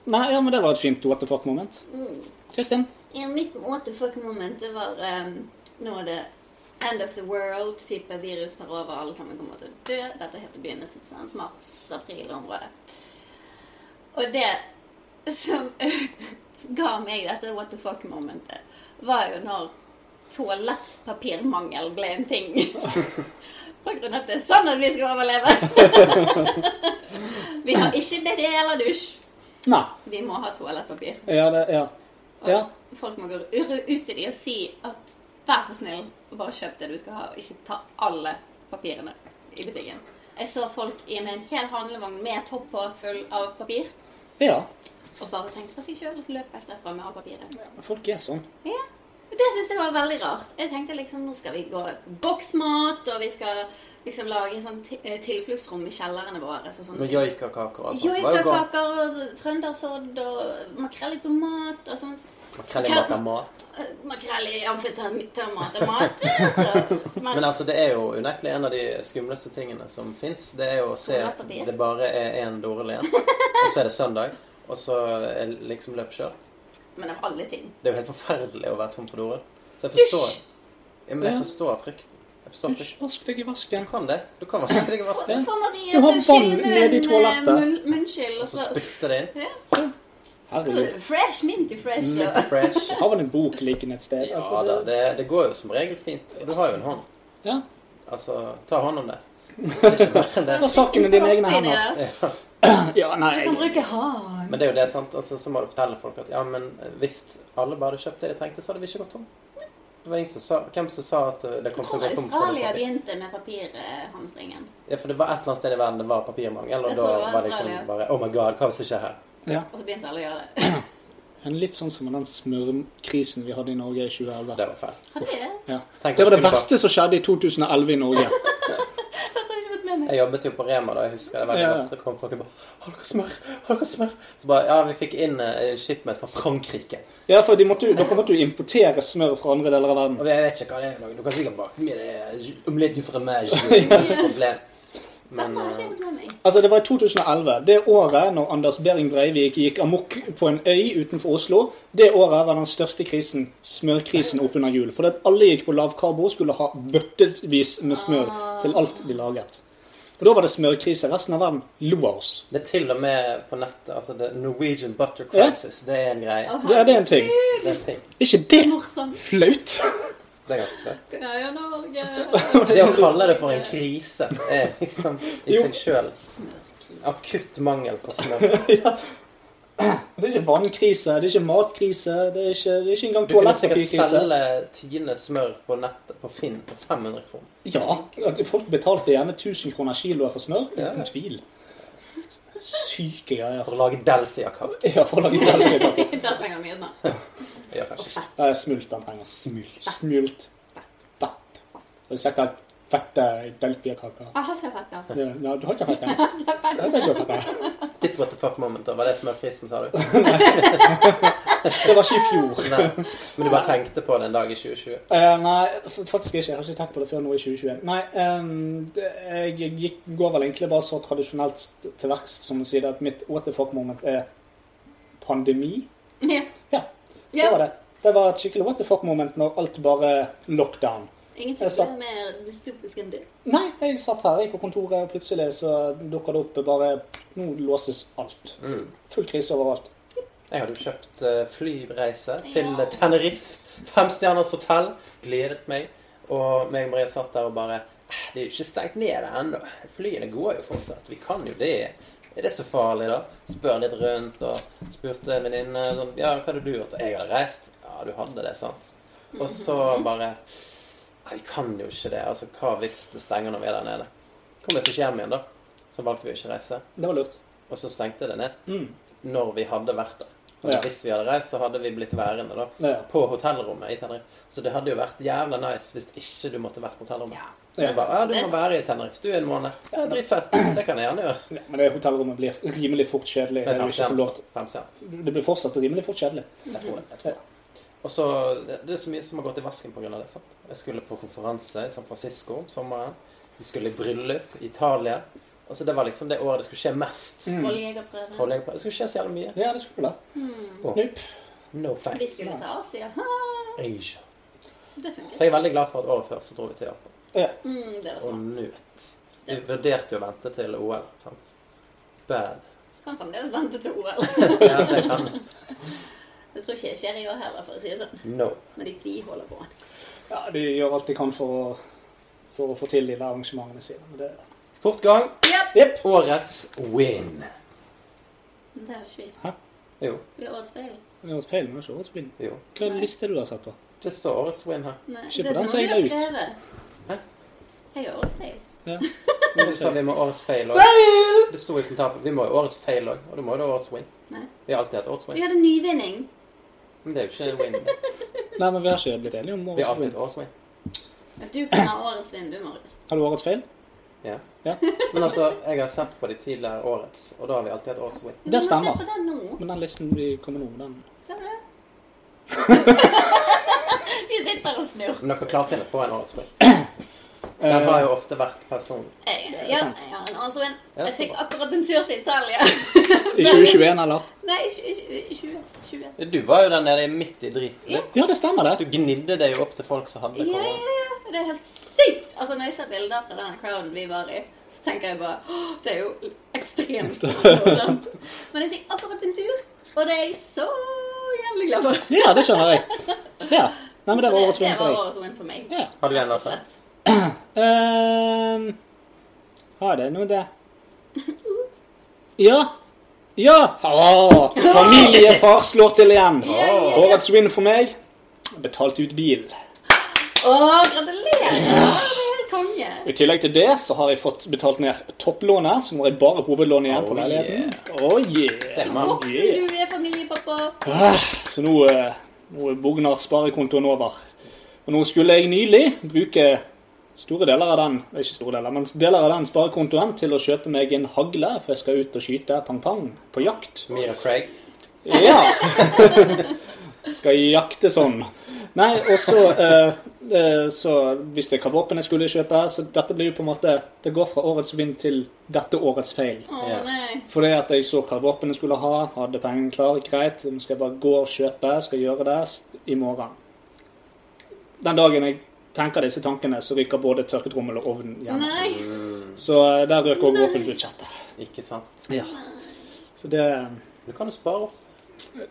S5: Nei, ja, men det var et fint what the fuck-moment.
S6: Mm.
S5: Kristin?
S6: Ja, mitt what the fuck moment det var um, nå er det end of the world, type virus tar over, alle sammen kommer til å dø. Dette er helt i begynnelsen. sant? Mars-april-området. Og det som ga meg dette what the fuck-momentet, var jo når toalettpapirmangel ble en ting. På grunn av at det er sånn at vi skal overleve. vi har ikke det eller dusj.
S5: Nei.
S6: Vi må ha toalettpapir.
S5: Ja, det, ja.
S6: Og
S5: Ja.
S6: folk må gå urre ut til de og si at vær så snill, bare kjøp det du skal ha, og ikke ta alle papirene i butikken. Jeg så folk i med en hel handlevogn med topp på full av papir,
S5: ja.
S6: og bare tenkte på seg sjøl, og så løp jeg derfra med alt papiret.
S5: Folk er sånn.
S6: Ja. Det syns jeg var veldig rart. Jeg tenkte liksom nå skal vi gå boksmat, og vi skal liksom lage en sånn ti- eh, tilfluktsrom i kjellerne våre. Så sånn,
S4: Med joikakaker og alt sånt. Var jo godt.
S6: Joikakaker og trøndersodd og makrell i tomat og sånn.
S4: Makrell i mat er mat.
S6: Eh, Makrell i amfetamintomat og mat. altså. Men,
S4: Men altså, det er jo unektelig en av de skumleste tingene som fins. Det er jo å se at
S6: Toalettpapir.
S4: det bare er én dårlig en, og så er det søndag, og så er det liksom løpskjørt.
S6: men av alle ting.
S4: Det er jo helt forferdelig å være tom for dorull. Så jeg forstår ja, Men jeg
S5: Ja.
S4: forstår frykten. Jeg forstår
S5: Hysj,
S4: frykten.
S5: vask deg i vasken.
S4: Du kan det. Du kan vaske deg i vasken,
S6: Får Marie
S5: Du har
S6: til å skylle
S5: vann
S6: med
S5: ned i
S6: en, eh,
S5: toalettet.
S6: munn- munnskyld, og
S4: og så
S6: så
S4: spytte det inn.
S6: så er
S5: Herregud.
S6: det fresh, minty fresh.
S4: Mint
S6: Og,
S4: fresh.
S5: Har vel en bok liggende et sted? Altså,
S4: Ja da, det, det går jo som regel fint. Du har jo en hånd.
S5: Ja.
S4: Altså, ta hånd om det. Det er ikke verre enn det.
S5: Ta saken i dine egne
S6: Oppi
S5: hender.
S6: der.
S5: Ja, nei.
S6: Du kan
S5: jeg-
S6: bruke hånd.
S4: Men det er jo det, sant? Altså, så må du fortelle folk at ja, men eh, hvis alle bare hadde kjøpt det de trengte, så hadde vi ikke gått tom. Det var ingen som sa, Hvem som sa at eh, det kom
S6: Jeg
S4: til å
S6: tror
S4: gå tom for det
S6: Australia
S4: papir?
S6: begynte med papirhamstringen.
S4: Ja, for det var et eller annet sted i verden det var papirmangel,
S6: Jeg
S4: og da
S6: tror det var
S4: var det liksom
S6: Australia.
S4: bare Oh my god, hva hvis det skjer her?
S5: Ja.
S6: Og så begynte alle å gjøre det.
S5: Men litt sånn som den smørkrisen vi hadde i Norge i 2011.
S4: Det var fælt.
S6: Har de det?
S5: Ja.
S4: Tenk
S5: Det var
S4: at
S5: det
S4: skulle bare-
S5: verste som skjedde i 2011 i Norge.
S6: Dette har jeg ikke fått med meg.
S4: Jeg jobbet jo på Rema da, jeg husker det veldig
S5: Ja.
S4: godt. Det kom folk og bare 'Har dere smør? Har dere smør?' Så bare Ja, vi fikk inn eh, en shipment fra Frankrike.
S5: Ja, for de måtte, jo- dere måtte jo importere smør fra andre deler av verden.
S4: Og jeg vet ikke hva det er for noe. Du kan sikkert bake med det omelette du fromage. Det er ikke noe problem. Men
S6: Dette har ikke
S4: eh,
S6: jeg fått med meg.
S5: Altså, Det var i 2011. Det året når Anders Behring Breivik gikk amok på en øy utenfor Oslo, det året var den største krisen, smørkrisen, oppunder jul. Fordi at alle gikk på lavkarbo og skulle ha bøttevis med smør til alt de laget. Og Da var det smørkrise. Resten av verden lo av oss.
S4: det er til og med på nettet altså det Norwegian Butter
S5: Ja.
S4: Crisis. Det er en greie.
S5: Det er det en ting.
S4: Det er en ting.
S5: Er ikke det
S6: Morsomt.
S5: flaut?
S4: Det er ganske flaut.
S6: Ja, ja, Norge.
S4: Det å kalle det for en krise er liksom i
S5: Jo.
S4: seg sjøl akutt mangel på smør.
S5: Det er ikke vannkrise, det er ikke matkrise, det er ikke, det er ikke engang
S4: Du kunne sikkert
S5: toalettpapirkrise.
S4: selge Tine smør på nettet på Finn for 500 kroner.
S5: Ja, at folk betalte gjerne 1000 kroner kiloet for smør.
S4: Ja.
S5: Uten tvil. Syke greier.
S4: For å lage Delfia-kake.
S5: Ja, for å lage delfikaker.
S6: Der trenger vi mye snart.
S4: Ja, kanskje.
S5: Det er smult han trenger. Smult. Smult. Fett. Har du sett den fette delfiakaka?
S6: Jeg har ikke fett, da.
S5: Ja, ja, du har ikke fett den? Jeg vet ikke hva fett den er.
S4: Ditt what the fuck moment, da. Var det smørkrisen, sa du?
S5: Det var ikke i fjor.
S4: Nei. Men du bare tenkte på det en dag i 2020.
S5: Eh, nei, f- faktisk ikke. Jeg har ikke tenkt på det før nå i 2021. Nei, ehm, det, jeg gikk, går vel egentlig bare så tradisjonelt st- til verks som å si det at mitt what the fuck moment er pandemi.
S6: Ja.
S5: Ja, det
S6: Ja.
S5: var det. Det var et skikkelig what the fuck moment når alt bare lockdown.
S6: Ingenting
S5: Jeg sa-
S6: er mer dystopisk enn det.
S5: Nei, jeg satt her jeg på kontoret, og plutselig så dukka det opp bare Nå låses alt.
S4: Mm.
S5: Full krise overalt.
S4: Jeg hadde jo kjøpt eh, flyreise til eh, Tenerife. Femstjerners hotell. Gledet meg. Og meg og Maria satt der og bare «Eh, Det er jo ikke stengt ned ennå. Flyene går jo fortsatt. Vi kan jo det. Er det så farlig, da? Spør litt rundt og spurte en venninne sånn Ja, hva hadde du gjort? Jeg hadde reist. Ja, du hadde det, sant? Og så bare Nei, vi kan jo ikke det. Altså, hva hvis det stenger når vi er der nede? Kom oss ikke hjem igjen, da. Så valgte vi å ikke reise.
S5: Det var lurt.
S4: Og så stengte det ned
S5: Mm.
S4: når vi hadde vært der. Altså,
S5: Ja.
S4: Hvis vi hadde reist, så hadde vi blitt værende da,
S5: Ja.
S4: på hotellrommet. i Tenerife. Så det hadde jo vært jævla nice hvis ikke du måtte vært på hotellrommet.
S6: Ja.
S4: Så jeg bare, ja, Du må være i Tenerife du en måned. Ja, Dritfett. Det kan jeg gjerne gjøre.
S5: Ja, men det hotellrommet blir rimelig fort kjedelig.
S4: Med
S5: når du ikke får lov
S4: femstjerners.
S5: til-
S4: Femstjerners.
S5: Det blir fortsatt rimelig fort kjedelig.
S4: Jeg tror det. Jeg tror det. Og så, det det er så mye som har gått i vasken pga. det. sant? Jeg skulle på konferanse i San Francisco om sommeren. Vi skulle i bryllup i Italia. Altså, Det var liksom det året det skulle skje mest.
S5: Mm.
S6: Trolljegerprøven.
S4: Trolljegerprøven. Det skulle skje så jævlig mye.
S5: Ja, det skulle det.
S4: Mm.
S5: Nope.
S4: No
S6: Vi
S4: thanks.
S6: skulle til Asia. Ha,
S4: Asia.
S6: Det fungerer.
S4: Så jeg er veldig glad for at året før så dro vi til Japan
S5: Ja.
S6: Mm, det var
S4: og
S6: smart.
S4: nøt. Vi vurderte jo å vente til OL, sant? Bad.
S6: Kan fremdeles vente til OL.
S4: Ja, det kan
S6: Det tror ikke jeg skjer i år heller, for å si det sånn.
S4: No.
S6: Men de tviholder på.
S5: ja, de gjør alt de kan for å, for å få til de der arrangementene sine. Men det,
S4: Fortgang.
S5: Jep.
S4: Årets win.
S6: Men det har ikke vi.
S4: Jo,
S6: Vi har årets feil.
S5: det er jo feil, men det er ikke årets win.
S4: jo.
S5: Hva er det liste du har sett på?
S4: Det står årets win her.
S6: Nei,
S5: Ikke
S6: det
S5: på
S6: er
S5: den
S6: noe
S5: som
S6: vi
S5: jeg
S6: har
S5: la ut.
S6: skrevet.
S4: Hæ?
S6: Jeg har årets feil.
S4: Men du sa vi må ha årets fail òg. Det sto i kommentaren. Vi må ha årets fail òg, og du må jo ha årets win.
S6: Nei.
S4: Vi har alltid hatt årets
S6: Vi
S4: win.
S6: hadde nyvinning.
S4: Men det er jo ikke en win.
S5: Nei, men vi har ikke blitt enige om
S4: Vi har
S5: årets
S4: alltid
S5: win.
S4: hatt årets win.
S6: Du kan ha årets vinn, du, Marius.
S5: Har du årets feil?
S4: Ja.
S5: Ja.
S4: Men altså, jeg har sett på de tidligere årets, og da har vi alltid hatt årets win.
S5: Det
S6: Se på
S5: stemmer.
S6: den nå.
S5: Men den listen vi kommer nå, den
S6: Ser du det? De sitter og snur.
S4: Men dere klarer å finne på en årets win. Den har jo ofte vært personlig.
S6: Jeg, ja, jeg
S5: sant.
S6: har en årets vinn.
S4: Ja,
S6: Jeg
S4: så
S6: fikk
S4: bra.
S6: akkurat en tur til Italia.
S5: I 2021, eller?
S6: Nei, ikke- ikke- ikke- 20.
S4: Du var jo der nede midt i driten. du.
S5: Ja, det stemmer, det.
S4: Du gnidde deg jo opp til folk som hadde
S6: Ja, ja,
S4: korona.
S6: ja. Det er helt sykt. Altså, når jeg ser bilder fra den crowden vi var i, så tenker jeg bare «Åh, Det er jo ekstremt morsomt. Men jeg fikk akkurat en tur, og det er jeg så jævlig glad for.
S5: Ja, det skjønner jeg. Ja. Nei, men det var årets
S6: det
S5: win for
S6: var
S5: deg.
S6: årets win for meg.
S5: Ja.
S4: Har du en, Lasse?
S5: Ehm, har det noe det? Ja. Ja! Åh, familiefar slår til igjen. Årets win for meg betalt ut bil.
S6: Å, gratulerer! Det er helt konge.
S5: I tillegg til det så har jeg fått betalt ned topplånet, så nå er det bare hovedlånet igjen på
S4: Oh,
S5: leiligheten. Oh, yeah.
S4: Mann.
S6: Voksen du er, familiepappa.
S5: Ah, Så nå, eh, nå er Bognar sparekontoen over. Og nå skulle jeg nylig bruke store deler av den ikke store deler, men deler av den sparekontoen til å kjøpe meg en hagle, for jeg skal ut og skyte pang-pang på jakt.
S4: Mia Craig.
S5: Ja! skal jakte sånn. Nei, og så, eh, eh, så visste jeg hva våpen jeg skulle kjøpe, så dette blir jo på en måte Det går fra årets vinn til dette årets feil.
S6: Å
S4: Ja.
S6: nei.
S5: Fordi at jeg så hva våpen jeg skulle ha, hadde pengene klar, greit, nå skal jeg bare gå og kjøpe, skal gjøre det s- i morgen. Den dagen jeg tenker disse tankene, så ryker både tørketrommel og ovn igjen.
S6: Nei.
S5: Så eh, der røk også våpenbudsjettet.
S4: Ikke sant?
S5: Så det eh,
S4: Du kan jo spare opp.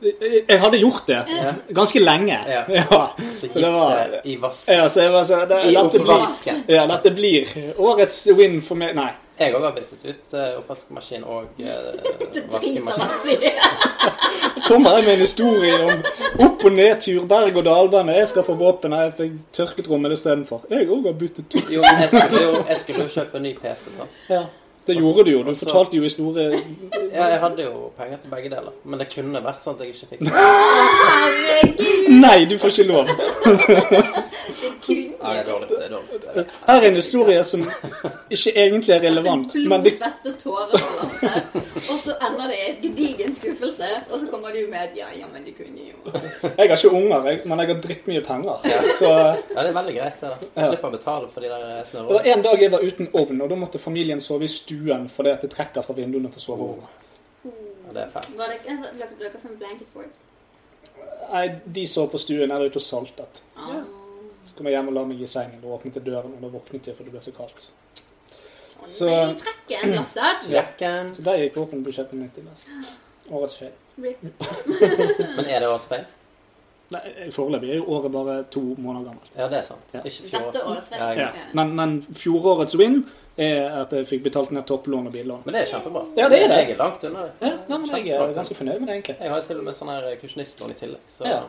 S5: Jeg jeg hadde gjort det ganske lenge.
S4: Ja. Så
S5: Så
S4: gikk
S5: det var
S4: det i vasken.
S5: ja, så jeg var så, det,
S4: I
S5: dette, blir,
S4: oppvasken.
S5: ja, dette blir årets win for meg. Nei.
S4: Jeg òg har byttet ut eh, oppvaskmaskin og eh, vaskemaskin.
S5: kommer jeg med en historie om opp- og nedtur, berg-og-dal-bane. Jeg skal få våpen. Jeg fikk tørketrommel istedenfor. Jeg òg har byttet tur.
S4: Jo, men jeg skulle jo, jeg skulle jo kjøpe en ny PC, sant.
S5: Ja. Det gjorde du jo. Du
S4: Også-
S5: fortalte jo historie
S4: Ja, jeg hadde jo penger til begge deler, men det kunne vært sånn at jeg ikke fikk det.
S6: Herregud,
S5: Nei, du får ikke lov.
S6: kun
S4: Nei, det er dårlig. Det er dårlig. Det er dårlig.
S5: Her er en historie som ikke egentlig er relevant, men
S6: Blod,
S5: det
S6: svette, tårer på lasset. Og så ender det i en gedigen skuffelse. Og så kommer du med et 'ja, ja, men du kunne jo'.
S5: Jeg har ikke unger, jeg, men jeg har drittmye penger. Så
S4: Ja, det er veldig greit, det. da. Slipper å betale for de der eh,
S5: det var
S4: snørrene.
S5: En dag jeg var uten ovn, og da måtte familien sove i stuen fordi at det trekker fra vinduene på soverommet.
S4: Ja, det er fælt.
S6: Var det ikke lagde dere sånn blanket for?
S5: Nei, De sov på stuen, jeg var ute og saltet.
S6: Ja.
S5: Så kom jeg hjem og la meg i sengen, og åpnet jeg døren, og da våknet jeg for det ble så kaldt. Så-
S6: Jeg trekker en lasset.
S4: Jakken.
S5: Så der gikk våpenbudsjettet mitt i last. Årets feil.
S6: Rip.
S4: Men er det årets feil?
S5: Nei, eh, Foreløpig er jo året bare to måneder gammelt.
S4: Ja, det er sant.
S5: Ja.
S4: Ikke
S6: Dette
S4: fjor.
S6: årets
S4: Ja,
S6: venn.
S5: Ja.
S4: ja.
S5: Men, men fjorårets win er at jeg fikk betalt ned topplån og billån.
S4: Men det er kjempebra.
S5: Ja, det er det.
S4: Jeg er langt unna det.
S5: Ja, nei, men Jeg er ganske fornøyd med det, egentlig.
S4: Jeg har jo til og med sånn her kursjonistlån i tillegg, så
S5: Ja.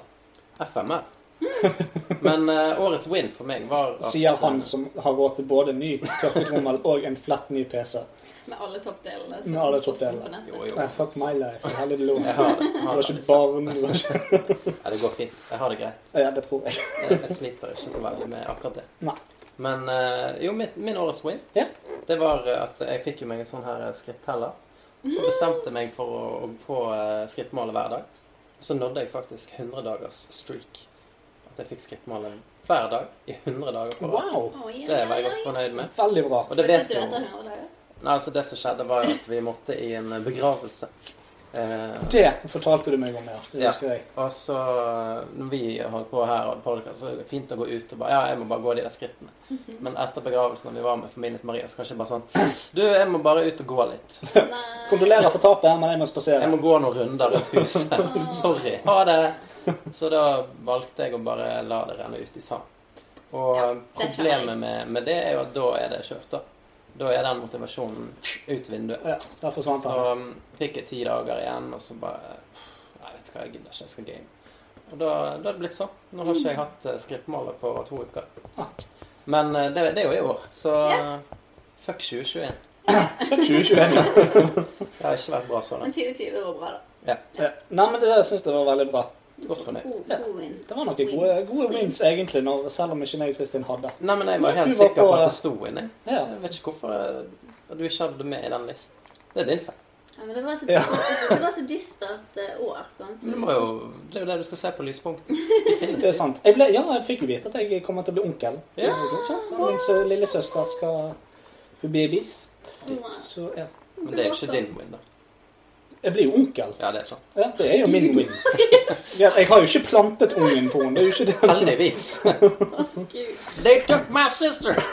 S4: FMR. Men eh, årets win for meg var at-
S5: Sier han som har råd til både ny tørketrommel og en flatt ny PC.
S6: Med alle toppdelene. som
S5: Med alle
S6: slåss
S5: toppdelene.
S6: på nettet.
S4: Jo, jo.
S5: Nei, fuck my life. Jeg hadde det lov.
S4: Jeg har det. Jeg
S5: Du
S4: har
S5: var
S4: det.
S5: ikke barn. Du var ikke...
S4: Ja, det går fint. Jeg har det greit.
S5: Ja, det tror jeg.
S4: Jeg, jeg sliter ikke så veldig med akkurat det.
S5: Nei.
S4: Men eh, jo, mitt, min årets win,
S5: Ja.
S4: det var eh, at jeg fikk jo meg en sånn her eh, skritteller. Så bestemte jeg meg for å, å få eh, skrittmålet hver dag. Og så nådde jeg faktisk 100 dagers streak. At jeg fikk skrittmålet hver dag i 100 dager på rad.
S5: Wow.
S6: Å, ja,
S4: Det er jeg veldig
S6: ja,
S4: godt
S6: ja.
S4: fornøyd med.
S5: Veldig bra.
S4: Og det
S6: Sluttet
S4: vet
S6: du
S4: jo
S6: etter 100 dager?
S4: Nei, altså Det som skjedde, var jo at vi måtte i en begravelse. Eh,
S5: Det fortalte du meg om, ja. Det
S4: Ja.
S5: husker jeg.
S4: og så, når vi holdt på her, og podcast, så er det fint å gå ut og bare Ja, jeg må bare gå de der skrittene.
S6: Mhm.
S4: Men etter begravelsen, når vi var med familien til Maria, så kanskje jeg bare sånn Du, jeg må bare ut og gå litt.
S5: Kondolerer for tapet, men jeg må
S4: Jeg
S5: spasere.
S4: må gå noen runder rundt huset. Sorry. Ha det. Så da valgte jeg å bare la det renne ut i sand. Og
S6: Ja, det skjønner jeg.
S4: problemet med, med det er jo at da er det kjørt, da. Da er den motivasjonen ut vinduet.
S5: Ja, der forsvant
S4: Så
S5: han.
S4: um, fikk jeg ti dager igjen, og så bare Nei, vet du hva, jeg gidder ikke, jeg skal game. Og da, da er det blitt sånn. Nå har ikke jeg hatt uh, skrittmålet på to uker. Men eh, det, det er jo i år, så
S6: Ja.
S4: fuck 2021.
S5: 2021.
S4: Det har ikke vært bra sånn. så
S6: Men
S4: langt.
S6: 2020 var bra, da.
S5: Ja. Nei, men det der syns jeg var veldig bra.
S4: Godt fornøyd.
S6: God,
S5: Ja.
S6: god win.
S5: Det var noen gode, gode wins, egentlig, når, selv om ikke meg og Kristin hadde.
S4: Nei, men jeg var helt
S5: Du var
S4: sikker på
S5: på-
S4: at det sto inni.
S5: Ja.
S4: Jeg vet ikke hvorfor eh, du ikke hadde det med i den listen. Det er din feil.
S6: Ja, men det var så
S5: Ja.
S6: dystert, det var så dystert eh, år. sant?
S4: Men Du må jo, det er jo det du skal se på lyspunktet.
S5: Det er sant. Jeg ble, ja, jeg fikk jo vite at jeg kommer til å bli onkel.
S4: Ja.
S5: Så Min sø- lillesøster skal få babies.
S6: Åh,
S5: Så ja.
S4: Men det er jo ikke din win, da.
S5: Jeg blir jo onkel.
S4: Ja, det er sant.
S5: Ja, det er jo min win. Ja, Jeg har jo ikke plantet ungen på henne. Det er jo ikke det.
S4: Heldigvis.
S6: Gud.
S4: They took my sister!
S6: Dere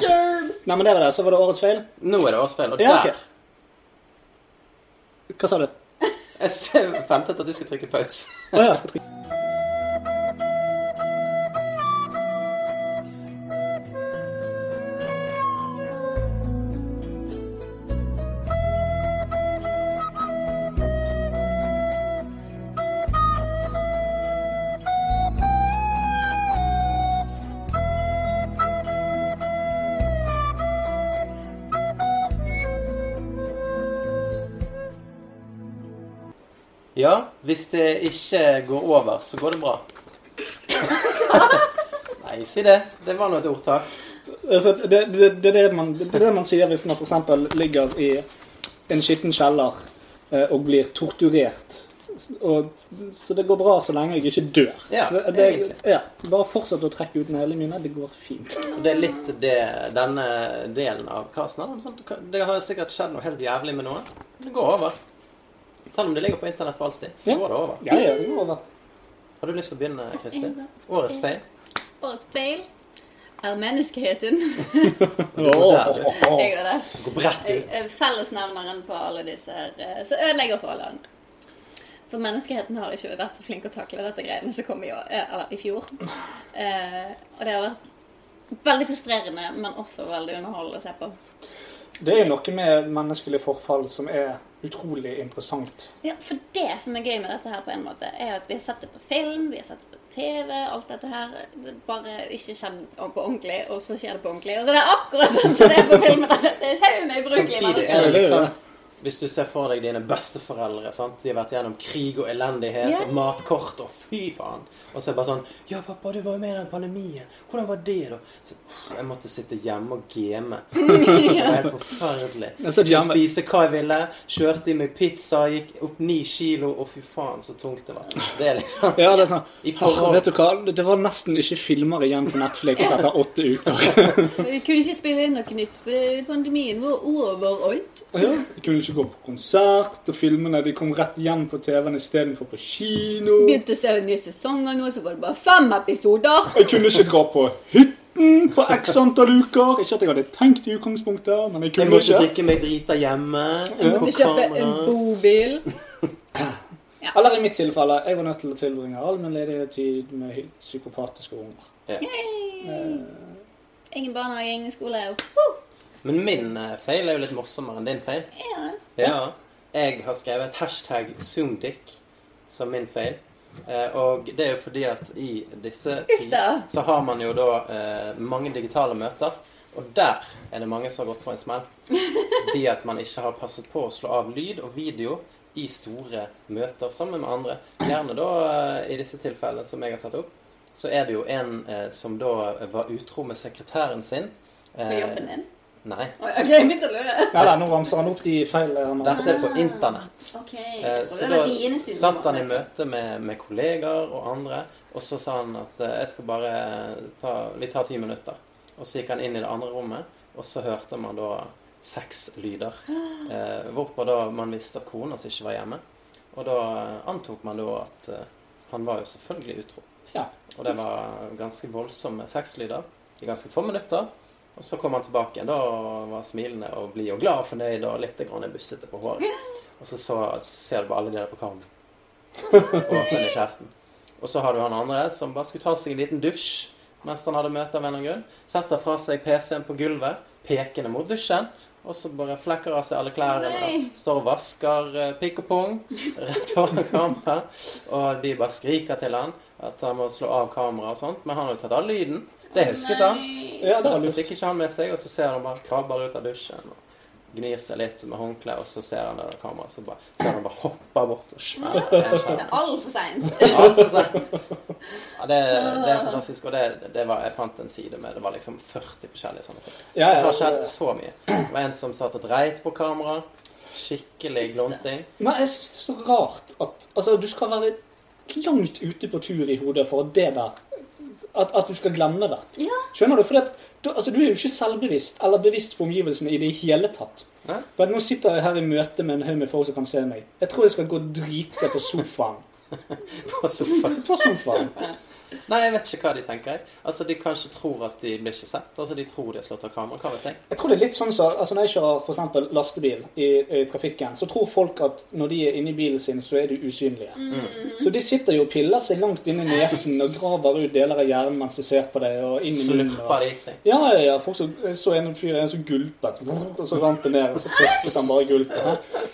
S6: germs!
S5: Nei, men det var det. Så var det årets feil.
S4: Nå er det årets feil, og
S5: Ja, ok.
S4: der
S5: Hva sa du?
S4: Jeg ser- ventet at du skulle trykke pause.
S5: Å ja, jeg skal trykke.
S4: Ja, hvis det ikke går over, så går det bra. Nei, Nei, si det. Det var nå et ordtak.
S5: Altså, det, det, det, er det, man, det er det man sier hvis man f.eks. ligger i en skitten kjeller eh, og blir torturert. Og, så det går bra så lenge jeg ikke dør.
S4: Ja,
S5: det,
S4: egentlig.
S5: ja, bare fortsett å trekke ut neglene mine. Det går fint.
S4: Og det er litt det denne delen av casten handler om. sant? Det har sikkert skjedd noe helt jævlig med noen. Det går over. Selv om det ligger på internett for alltid, så
S5: Ja.
S4: går det over.
S5: Ja, ja, det går over.
S4: Har du lyst til å begynne, Kristi? Årets feil?
S6: Årets feil er menneskeheten.
S4: Der, du.
S6: Jeg gjør det.
S4: Gå bredt ut.
S6: Eh, Fellesnevneren på alle disse er, eh, som ødelegger forholdene. For menneskeheten har ikke vært så flink å takle dette greiene som kom i, år, eh, eller, i fjor. Eh, og det har vært veldig frustrerende, men også veldig underholdende å se på.
S5: Det er jo noe med menneskelig forfall som er utrolig interessant.
S6: Ja, For det som er gøy med dette her, på en måte, er at vi har sett det på film, vi har sett det på TV, alt dette her. Det bare ikke skjedd på ordentlig, og så skjer det på ordentlig. Og så er det akkurat sånn som det er på filmen. Det er en haug med
S4: Samtidig
S6: ubrukelige mennesker.
S4: er det
S5: mennesker.
S4: liksom Hvis du ser for deg dine besteforeldre sant? De har vært gjennom krig og elendighet
S6: Ja.
S4: og matkort og fy faen. Og så er det bare sånn Ja, pappa, du var jo med i den pandemien. Hvordan var det, da? Så, «Pff, jeg måtte sitte hjemme og game. Det var helt forferdelig.
S5: Jeg satt hjemme.
S4: spise hva jeg ville. Kjørte i meg pizza, gikk opp ni kilo, og fy faen, så tungt det var. Det er liksom
S5: Ja, det er sånn
S4: I forhold-
S5: «Åh, Vet du hva, det var nesten ikke filmer igjen på Netflix etter åtte uker.
S6: Vi kunne ikke spille inn noe nytt, for pandemien var overalt.
S5: Ja, Vi kunne ikke gå på konsert, og filmene de kom rett igjen på TV-en istedenfor på kino.
S6: Begynte å se nye sesonger nå, så var det bare fem episoder.
S5: Jeg kunne ikke dra på hytten på x antall uker. Ikke at jeg hadde tenkt i utgangspunktet, men jeg
S4: Jeg
S5: kunne
S4: må ikke
S5: ikke.
S4: drikke meg drita hjemme. Jeg må
S6: Måtte
S4: på
S6: kjøpe en
S4: kamera.
S6: bobil.
S5: Eller i mitt tilfelle, jeg var nødt til å tilbringe all min ledige tid med helt psykopatiske unger.
S6: Ingen barnehage, ingen skole.
S4: Men min eh, feil er jo litt morsommere enn din feil.
S6: Ja.
S4: Ja. Jeg har skrevet hashtag zoomdick som min feil. Eh, og det er jo fordi at i disse
S6: Uff da.
S4: tider så har man jo da eh, mange digitale møter. Og der er det mange som har gått på en smell. Fordi at man ikke har passet på å slå av lyd og video i store møter sammen med andre. Gjerne da eh, i disse tilfellene som jeg har tatt opp, så er det jo en eh, som da var utro med sekretæren sin. Eh,
S6: På jobben din.
S4: Nei.
S6: Oi, OK, jeg begynte å lure.
S5: Nei, nei, nå ramser han opp de feil han har.
S4: Dette er
S6: Ah.
S4: på internett.
S6: Ok,
S4: Eh, Så da satt han i møte med, med kolleger og andre, og så sa han at eh, jeg skal bare ta, vi tar ti minutter. Og så gikk han inn i det andre rommet, og så hørte man da seks lyder. Eh, hvorpå da man visste at kona hans ikke var hjemme. Og da eh, antok man da at eh, han var jo selvfølgelig utro.
S5: Ja.
S4: Og det var ganske voldsomme sexlyder i ganske få minutter. Og så kom han tilbake igjen da og var smilende og blid og glad og fornøyd og litt grann bussete på håret. Og så, så ser du bare alle de der på kammen. Åpen i kjeften. Og så har du han andre som bare skulle ta seg en liten dusj mens han hadde møte av en eller annen grunn. Setter fra seg PC-en på gulvet, pekende mot dusjen. Og så bare flekker av seg alle klærne.
S6: Nei.
S4: Står og vasker eh, pikk og pung rett foran kamera. Og de bare skriker til han at han må slå av kameraet og sånt. Men han har jo tatt av lyden. Det husket han.
S5: Ja, det
S4: Så
S5: var
S4: dette
S5: lurt.
S4: fikk ikke han med seg, og så ser han bare krabber ut av dusjen og gnir seg litt med håndkle, og så ser han det der kameraet, så bare, ser han bare hopper bort og smeller en skjerm.
S6: Altfor seint.
S4: Alt er sant. Ja, det, det er fantastisk, og det, det var, jeg fant en side med det var liksom 40 forskjellige sånne ting.
S5: Ja,
S4: Det
S5: ja,
S4: har skjedd så mye. Det var en som satt og dreit på kamera. Skikkelig glunting.
S5: Men jeg synes det er så rart at altså, du skal være langt ute på tur i hodet for at det der At, at du skal glemme det.
S6: Ja.
S5: Skjønner du? For at, du, altså, du er jo ikke selvbevisst eller bevisst på omgivelsene i det hele tatt.
S4: Hæ?
S5: Men nå sitter jeg her i møte med en haug med folk som kan se meg. Jeg tror jeg skal gå og drite på sofaen.
S4: På sofaen.
S5: På sofaen.
S4: Nei, jeg vet ikke hva de tenker. jeg. Altså, De kanskje tror at de blir ikke sett. altså De tror de har slått av kamera. Hva vet jeg?
S5: Jeg tror det er litt sånn så, altså Når jeg kjører for eksempel lastebil i, i trafikken, så tror folk at når de er inni bilen sin, så er de usynlige. Så de sitter jo og piller seg langt inn i nesen og graver ut deler av hjernen mens de ser på deg. og inn i munnen.
S4: Slurper
S5: Og...
S4: de i seg.
S5: Ja, ja, ja. Folk så, jeg så en fyr en som gulpet, og så rant det ned, og så tørket han bare gulpet.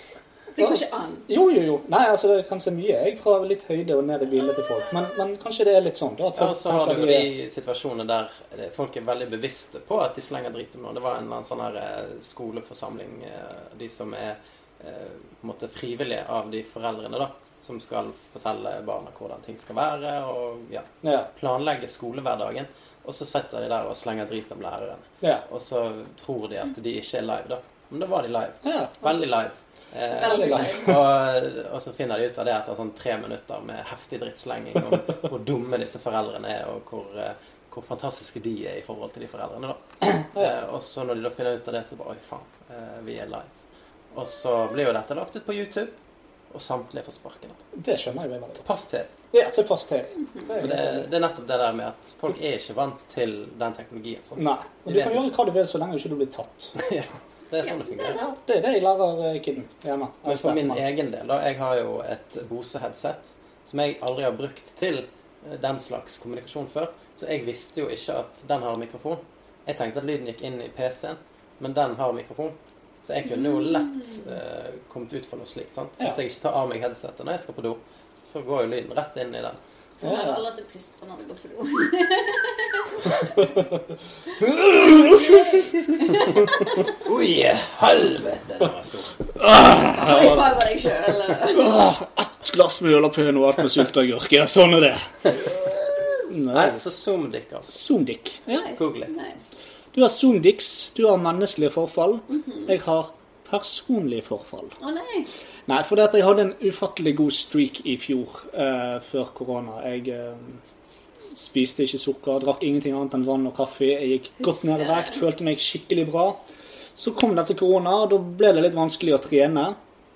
S6: Det går ikke an.
S5: Jo, jo, jo. Nei, altså det kan se mye jeg fra litt høyde og ned i bildet til folk. Men, men kanskje det er litt sånn. da. at
S4: Ja,
S5: folk
S4: og så har
S5: tenker
S4: du jo
S5: de er-
S4: de situasjonene der eh, folk er veldig bevisste på at de slenger drit om noen. Det var en eller annen sånn her eh, skoleforsamling, eh, de som er eh, på en måte frivillige av de foreldrene, da. som skal fortelle barna hvordan ting skal være, og ja,
S5: Ja.
S4: planlegge skolehverdagen. Og så sitter de der og slenger drit om læreren.
S5: Ja.
S4: Og så tror de at de ikke er live, da. Men da var de live.
S5: ja.
S4: Veldig live. Eh,
S5: Det er
S6: Veldig
S5: live.
S4: og, og så finner de ut av det etter sånn tre minutter med heftig drittslenging om hvor dumme disse foreldrene er, og hvor, eh, hvor fantastiske de er i forhold til de foreldrene. da. Eh, og så når de da finner ut av det, så bare Oi, faen, eh, vi er live. Og så blir jo dette lagt ut på YouTube, og samtlige får sparken. altså.
S5: Det skjønner jeg veldig godt.
S4: Pass til.
S5: Ja, tilpass til. Det er
S4: Og det,
S5: greit.
S4: det er nettopp det der med at folk er ikke vant til den teknologien. Sant?
S5: Nei.
S4: De
S5: Men du
S4: vet
S5: kan gjøre
S4: ikke.
S5: hva du vil så lenge du ikke blir tatt.
S4: ja, det er sånn det fungerer.
S5: Det er det jeg lærer eh, kidden hjemme.
S4: Men for min egen del, da. Jeg har jo et Bose-headset som jeg aldri har brukt til eh, den slags kommunikasjon før. Så jeg visste jo ikke at den har mikrofon. Jeg tenkte at lyden gikk inn i PC-en, men den har mikrofon. Så jeg kunne jo lett eh, kommet ut for noe slikt. sant? Hvis
S5: Ja.
S4: jeg ikke tar av meg headsetet når jeg skal på do, så går jo lyden rett inn i den.
S6: Så
S5: Ja.
S6: hører alle at det plystrer når det går på do.
S4: Oi, helvete! Den var stor.
S6: Jeg fiber deg sjøl.
S5: Ett glass med ølapøen og alt med sylteagurk. Ja, sånn er det. Nei.
S4: Nei, så zoom dick, altså.
S5: Zoomdick. Ja.
S4: Google it.
S5: Du har zoomdicks, du har menneskelige forfall.
S4: Mhm.
S5: Jeg har personlige forfall.
S6: Å nei.
S5: Nei, for det at jeg hadde en ufattelig god streak i fjor, eh, før korona. Jeg eh, spiste ikke sukker, drakk ingenting annet enn vann og kaffe. Jeg gikk godt ned i vekt, følte meg skikkelig bra. Så kom dette korona, og da ble det litt vanskelig å trene.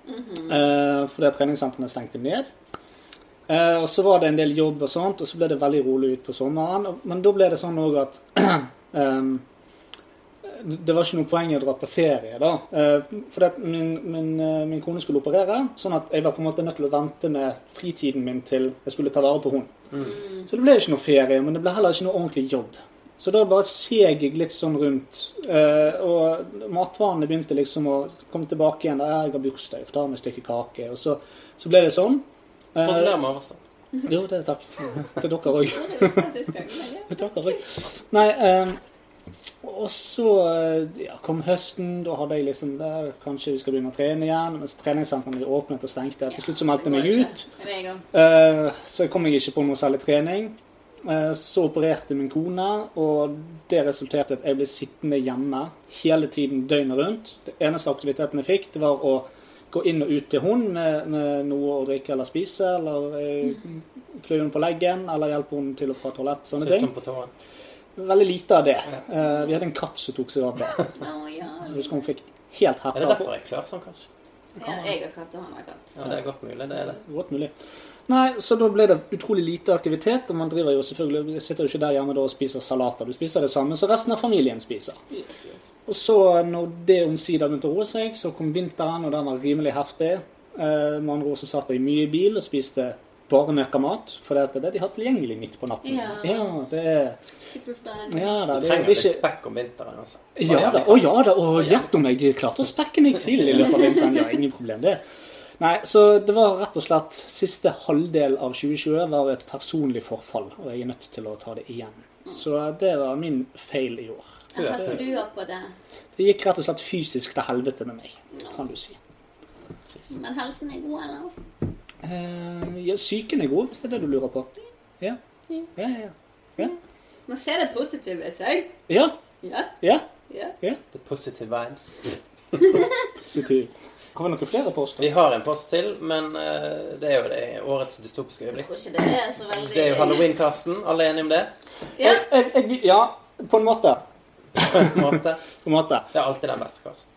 S5: eh, fordi at treningssentrene stengte ned. Eh, og så var det en del jobb og sånt, og så ble det veldig rolig ut på sommeren. Og- Men da ble det sånn òg at ehm, det var ikke noe poeng i å dra på ferie, da. Eh, Fordi at min, min, eh, min kone skulle operere, sånn at jeg var på en måte nødt til å vente med fritiden min til jeg skulle ta vare på henne. Så det ble ikke noe ferie, men det ble heller ikke noe ordentlig jobb. Så da bare seg jeg litt sånn rundt, eh, og matvarene begynte liksom å komme tilbake igjen. Da «Ja, jeg har bursdag, for da har vi et stykke kake. Og så, så ble det sånn. Eh,
S4: Gratulerer med overstand.
S5: jo, det er takk. Til dere òg.
S6: Det er jo fra sist gang. men ja.
S5: Takk, Ari. Nei, ehm, og så eh, ja, kom høsten. Da hadde jeg liksom der, Kanskje vi skal begynne å trene igjen. Mens treningssentrene åpnet og stengte. Til slutt så meldte jeg meg
S6: Det går
S5: ut.
S6: ikke. Meg òg.
S5: Eh, så jeg kom meg ikke på noe særlig trening. Eh, så opererte min kone, og det resulterte i at jeg ble sittende hjemme hele tiden døgnet rundt. Det eneste aktiviteten jeg fikk, det var å gå inn og ut til hun med, med noe å drikke eller spise, eller eh, klø henne på leggen, eller hjelpe henne til og fra toalett. Sånne ting.
S4: Sitter på tåen.
S5: Veldig lite av det. Eh, vi hadde en katt som tok seg av det.
S6: Å ja.
S5: Jeg husker hun fikk
S4: Er
S5: helt
S4: det
S5: hetta.
S4: derfor jeg klør sånn, kanskje?
S6: ja. Jeg har katt, og han har katt.
S4: Ja, det er godt mulig, det er det.
S5: Godt mulig. Nei, så da ble det utrolig lite aktivitet, og man driver jo selvfølgelig, sitter jo ikke der hjemme da og spiser salater. Du spiser det samme som resten av familien spiser.
S6: Yes, yes.
S5: Og så, når det omsider begynte å roe seg, så kom vinteren, og den var rimelig heftig. Eh, med andre ord så satt jeg mye i bil og spiste bare nøkkermat, for det er det de har tilgjengelig midt på natten.
S6: Ja.
S5: det er...
S6: Superfun.
S5: Ja, da,
S4: Du trenger
S5: det, det er
S4: litt
S5: ikke...
S4: spekk om vinteren, altså.
S5: Ja da, å ja da, og gjett om jeg klarte å spekke meg til i løpet av vinteren. Ja, ingen problem det. Nei, så det var rett og slett siste halvdel av 2020 var et personlig forfall, og jeg er nødt til å ta det igjen. Så det var min feil i år.
S6: Jeg har hatt trua på det.
S5: Det gikk rett og slett fysisk til helvete med meg, kan du si.
S6: Men helsen er god ellers.
S5: Eh, ja, psyken er god, hvis det er det du lurer på. Ja. Ja, ja, ja.
S6: Man ser det positive i ting.
S5: Ja,
S6: Ja.
S5: ja.
S6: ja.
S4: The positive vibes.
S5: Positiv. Har vi noen flere poster?
S4: Vi har en post til, men eh, det er jo det årets dystopiske
S6: Jeg
S4: øyeblikk.
S6: tror ikke det er så veldig
S4: Det er jo halloween-kasten. Alle er enige om det?
S6: Ja.
S5: Jeg, jeg, ja, på en måte.
S4: På en måte.
S5: På en måte.
S4: Det er alltid den beste kasten.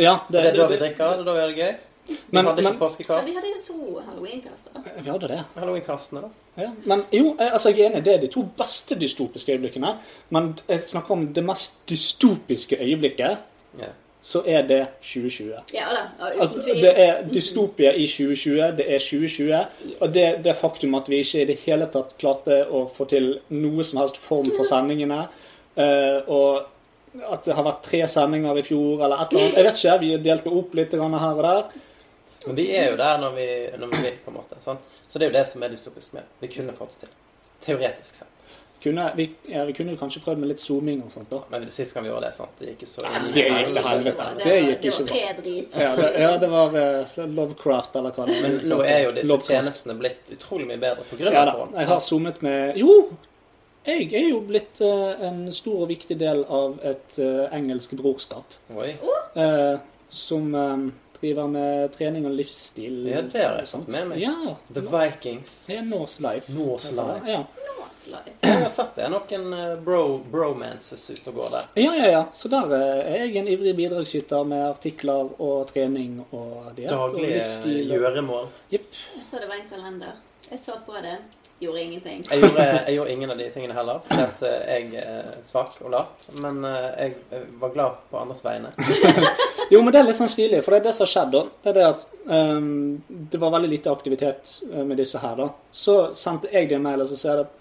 S5: Ja,
S4: Det er da vi drikker, det er da vi har det gøy. Vi
S5: Men-
S4: hadde ikke
S5: men-
S6: Men Vi
S4: påskekast.
S6: hadde jo to halloweenkaster.
S5: Vi hadde det.
S4: Halloween-kastene, da.
S5: Ja. Men jo, eh, altså jeg er enig, det er de to beste dystopiske øyeblikkene. Men jeg snakker om det mest dystopiske øyeblikket,
S4: Ja.
S5: så er det 2020.
S6: Ja da. og uten
S5: Altså,
S6: tvil.
S5: det er dystopia i 2020, det er 2020. Og det, det faktum at vi ikke i det hele tatt klarte å få til noe som helst form på sendingene, eh, og at det har vært tre sendinger i fjor eller et eller annet. Jeg vet ikke, vi delte opp litt grann her og der.
S4: Men vi er jo der når vi, når vi vil, på en måte. Sant? Så det er jo det som er dystopisk med det. Vi kunne fått det til. Teoretisk sett.
S5: Kunne, vi, ja, vi kunne jo kanskje prøvd med litt zooming og sånt, da.
S4: Men sist gang vi gjorde det, sant? Det gikk jo så
S5: Det gikk til helvete. Det gikk
S6: Det
S5: ikke
S6: var
S5: bra.
S6: pedrit.
S5: Ja, det, ja, det var eh, Lovecraft, eller hva det
S4: Men nå er jo disse
S5: Lovecraft.
S4: tjenestene blitt utrolig mye bedre på grunn
S5: Ja
S4: av
S5: da.
S4: korona.
S5: Jeg har
S4: sant?
S5: zoomet med Jo! Jeg er jo blitt eh, en stor og viktig del av et eh, engelsk brorskap.
S4: Oi.
S5: eh, som eh, driver med trening og livsstil.
S4: Ja, det har jeg
S5: og sånt.
S4: fått med meg.
S5: Ja,
S4: The Vikings.
S5: det er Norse Life.
S4: Norse Life.
S5: Ja.
S4: Jeg har sett det er noen eh, bro, bromances ute og går der.
S5: ja, ja, ja. Så der eh, er jeg en ivrig bidragsskytter med artikler og trening og diett og
S4: Daglige
S5: livsstil. og-
S4: eh, gjøremål.
S5: Jepp.
S6: Jeg så det var en kalender. Jeg så på det. Gjorde ingenting.
S4: Jeg gjorde, jeg gjorde ingen av de tingene heller, fordi at eh, jeg er svak og lat. Men eh, jeg eh, var glad på andres vegne.
S5: Jo, men det er litt sånn stilig, for det er det som har skjedd da. Det er det at ehm, det var veldig lite aktivitet eh, med disse her da. Så sendte jeg det en mail og så sier det at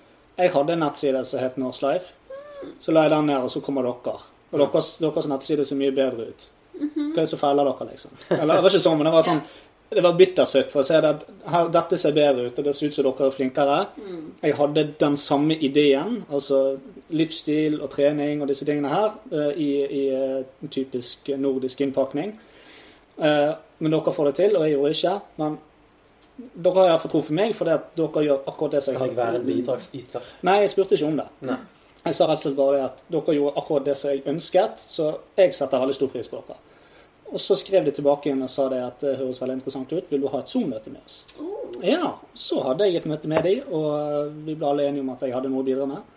S5: jeg hadde en nettside som het Norse Life. Så la jeg den ned, og så kommer dere. Og
S4: Mm.
S5: deres, deres nettside ser mye bedre ut.
S4: Mhm.
S5: Hva er det som feiler dere, liksom? Eller, det var ikke sånn, men det var sånn det var bittersøtt for å se det at her, dette ser bedre ut, og det ser ut som dere er flinkere.
S4: Mm.
S5: Jeg hadde den samme ideen, altså livsstil og trening og disse tingene her, eh, i, i eh, typisk nordisk innpakning. Eh, Men dere får det til, og jeg gjorde ikke. Men dere har iallfall tro for meg, fordi at dere gjør akkurat det som jeg
S4: Kan jeg være en bidragsyter?
S5: Nei, jeg spurte ikke om det.
S4: Nei.
S5: Jeg sa rett og slett bare det at dere gjorde akkurat det som jeg ønsket, så jeg setter veldig stor pris på dere. Og så skrev de tilbake igjen og sa det at det høres veldig interessant ut, vil du ha et Zoom-møte med oss? Ja, så hadde jeg et møte med dem, og eh, vi ble alle enige om at jeg hadde noe å bidra med.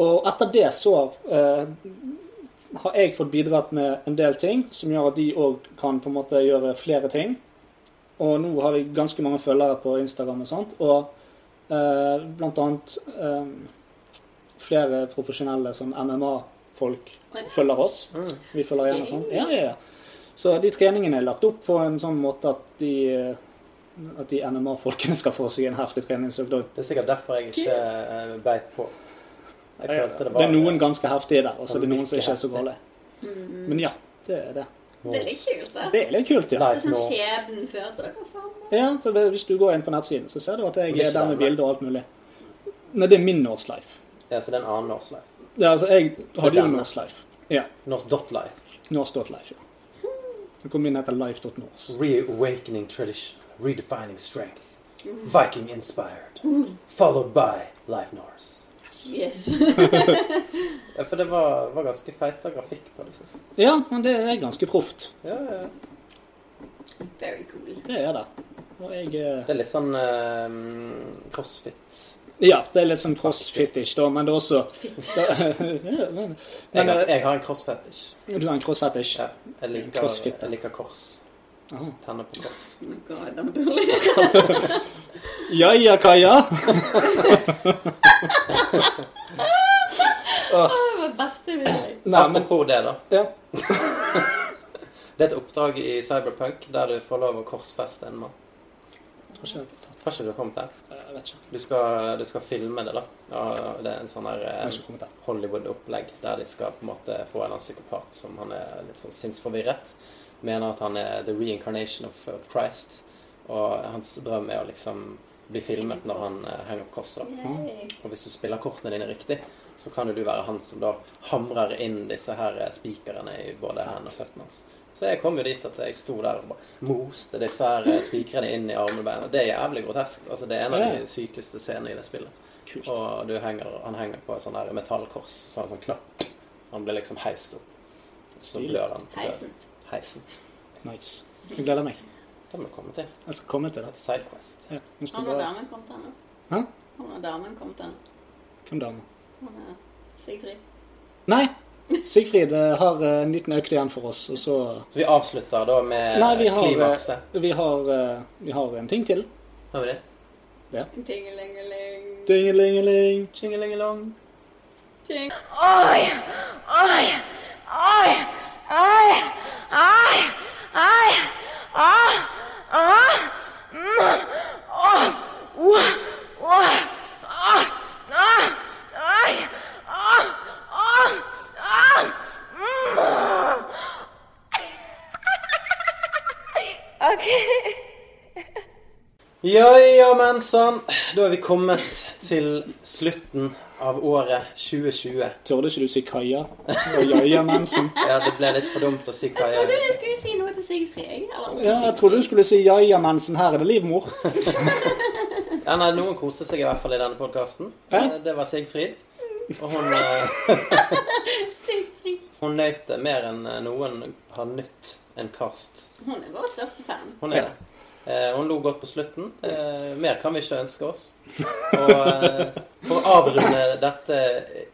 S5: Og etter det så eh, har jeg fått bidratt med en del ting, som gjør at de òg kan på en måte gjøre flere ting. Og nå har vi ganske mange følgere på Instagram og sånt. og Eh, blant annet eh, flere profesjonelle sånn MMA-folk
S6: Oi.
S5: følger oss.
S4: Mm.
S5: Vi følger gjerne sånn. Ja, ja, ja. Så de treningene er lagt opp på en sånn måte at de, eh, at de MMA-folkene skal få seg en heftig treningsøkt. og
S4: Det er sikkert derfor jeg ikke eh, beit på. Jeg følte det
S5: Det
S4: var eh,
S5: er noen ganske heftige der, og
S4: Det
S5: så er
S4: var
S5: det noen som ikke er så
S4: mye
S5: gale. Men ja, det er det.
S6: Det er litt kult, da.
S5: Det er litt kult, ja.
S6: Det er
S4: Life
S6: sånn
S4: Norse.
S6: skjebnen førte dere altså. fram.
S5: ja så det, hvis du går inn på nettsiden, så ser du at jeg
S4: det er
S5: er
S4: ikke
S5: der med
S4: den, nei.
S5: bilder og alt mulig. Nei, det er min Norse Life.
S4: Ja, så det er en annen Norse Life.
S5: Det er, altså, jeg hadde jo
S4: denne.
S5: Norse Life. Ja.
S4: Norse dot life.
S5: Norse.life, ja. På min heter life.norse.
S7: Reawakening tradition, redefining strength. Viking inspired. Followed by Life Norse.
S6: Yes.
S4: Ja, for det var, var ganske feita grafikk på det siste.
S5: Ja, men det er ganske proft.
S4: Ja, ja.
S6: Very cool.
S5: Det er det. Og jeg eh,
S4: Det er litt sånn eh, crossfit.
S5: Ja, det er litt sånn crossfit-ish, da, men det er også Ja,
S4: Jeg,
S5: men, men
S4: har,
S5: eh,
S4: jeg har en crossfetish.
S5: Du er en crossfit-ish.
S4: Ja, jeg, liker,
S5: Crossfit, ja.
S4: jeg liker kors.
S5: Aha.
S4: Tenner på kors.
S6: Oh my god, det var dårlig.
S5: Ja ja, Kaja.
S6: Det var beste jeg ville.
S5: Nei, men
S4: Apropos det, da.
S5: ja.
S4: Det er et oppdrag i Cyberpunk der du får lov å korsfeste en mann.
S5: Jeg tror ikke jeg har tatt-
S4: Har ikke du kommet der?
S5: jeg vet ikke.
S4: Du skal, du skal filme det, da. Ja, det er en sånn her
S5: Jeg har
S4: eh,
S5: ikke kommet der.
S4: Hollywood-opplegg der de skal på en måte få en eller annen psykopat som han er litt sånn sinnsforvirret. Mener at han er the reincarnation of, of Christ. Og hans drøm er å liksom bli filmet når han eh, henger opp korset. da.
S6: Yay.
S4: Og hvis du spiller kortene dine riktig, så kan jo du være han som da hamrer inn disse her eh, spikrene i både hendene og føttene hans. Så jeg kom jo dit at jeg sto der og bare moste disse her eh, spikrene inn i armene og beina. Det er jævlig grotesk. Altså, det er en av de sykeste scenene i det spillet.
S5: Kult.
S4: Og du henger, han henger på et sånn der metallkors, så han sånn klapp. Han blir liksom heist opp. Så
S5: Stilig.
S4: blør han til døden.
S6: Heisent.
S4: Heisen.
S5: Nice. Jeg gleder meg.
S4: Det må vi komme til.
S5: Jeg skal komme til
S4: Et
S5: det.
S4: sidequest.
S5: Ja, nå skal
S6: Han
S5: vi
S6: og
S5: bare
S6: damen kom til henne.
S5: Hæ?
S6: Han og damen kom til henne.
S5: Hvem dame?
S6: Hun er Sigfrid.
S5: Nei. Sigfrid eh, har eh, en liten økt igjen for oss, og så
S4: Så vi avslutter da med
S5: Nei, vi har, eh,
S4: klimakset.
S5: vi har, eh, vi har en ting til.
S4: Har vi det?
S6: Tingelingeling.
S5: Dingelingeling.
S4: Tjingelingelong.
S6: Ting.
S2: Oi, oi, oi, oi, oi, oi, ah, ah, mm, åh, uh, uh, ah, ah, oi, ah, ah, ah, mm. Ok. Mm.
S4: Ja ja, men sann. Da er vi kommet til slutten av året 2020.
S5: Tørde ikke du si Kaja og Jaja Mensen?
S4: Ja, det ble litt for dumt å si hva
S6: Trodde
S4: jeg
S6: jeg skulle si noe til Sigfrid, jeg. Eller om
S5: Ja, jeg trodde du skulle si Jaja Mensen. Her er det livmor.
S4: ja, nei, Noen koste seg i hvert fall i denne podkasten.
S5: Hæ?
S4: Det var Sigfrid. Og hun, eh,
S6: Sigfrid.
S4: hun nøt det mer enn eh, noen har nytt en kast.
S6: Hun er vår største fan.
S4: Hun er det. Eh, Hun lo godt på slutten. Eh, Mer kan vi ikke ønske oss. Og eh, for å avrunde dette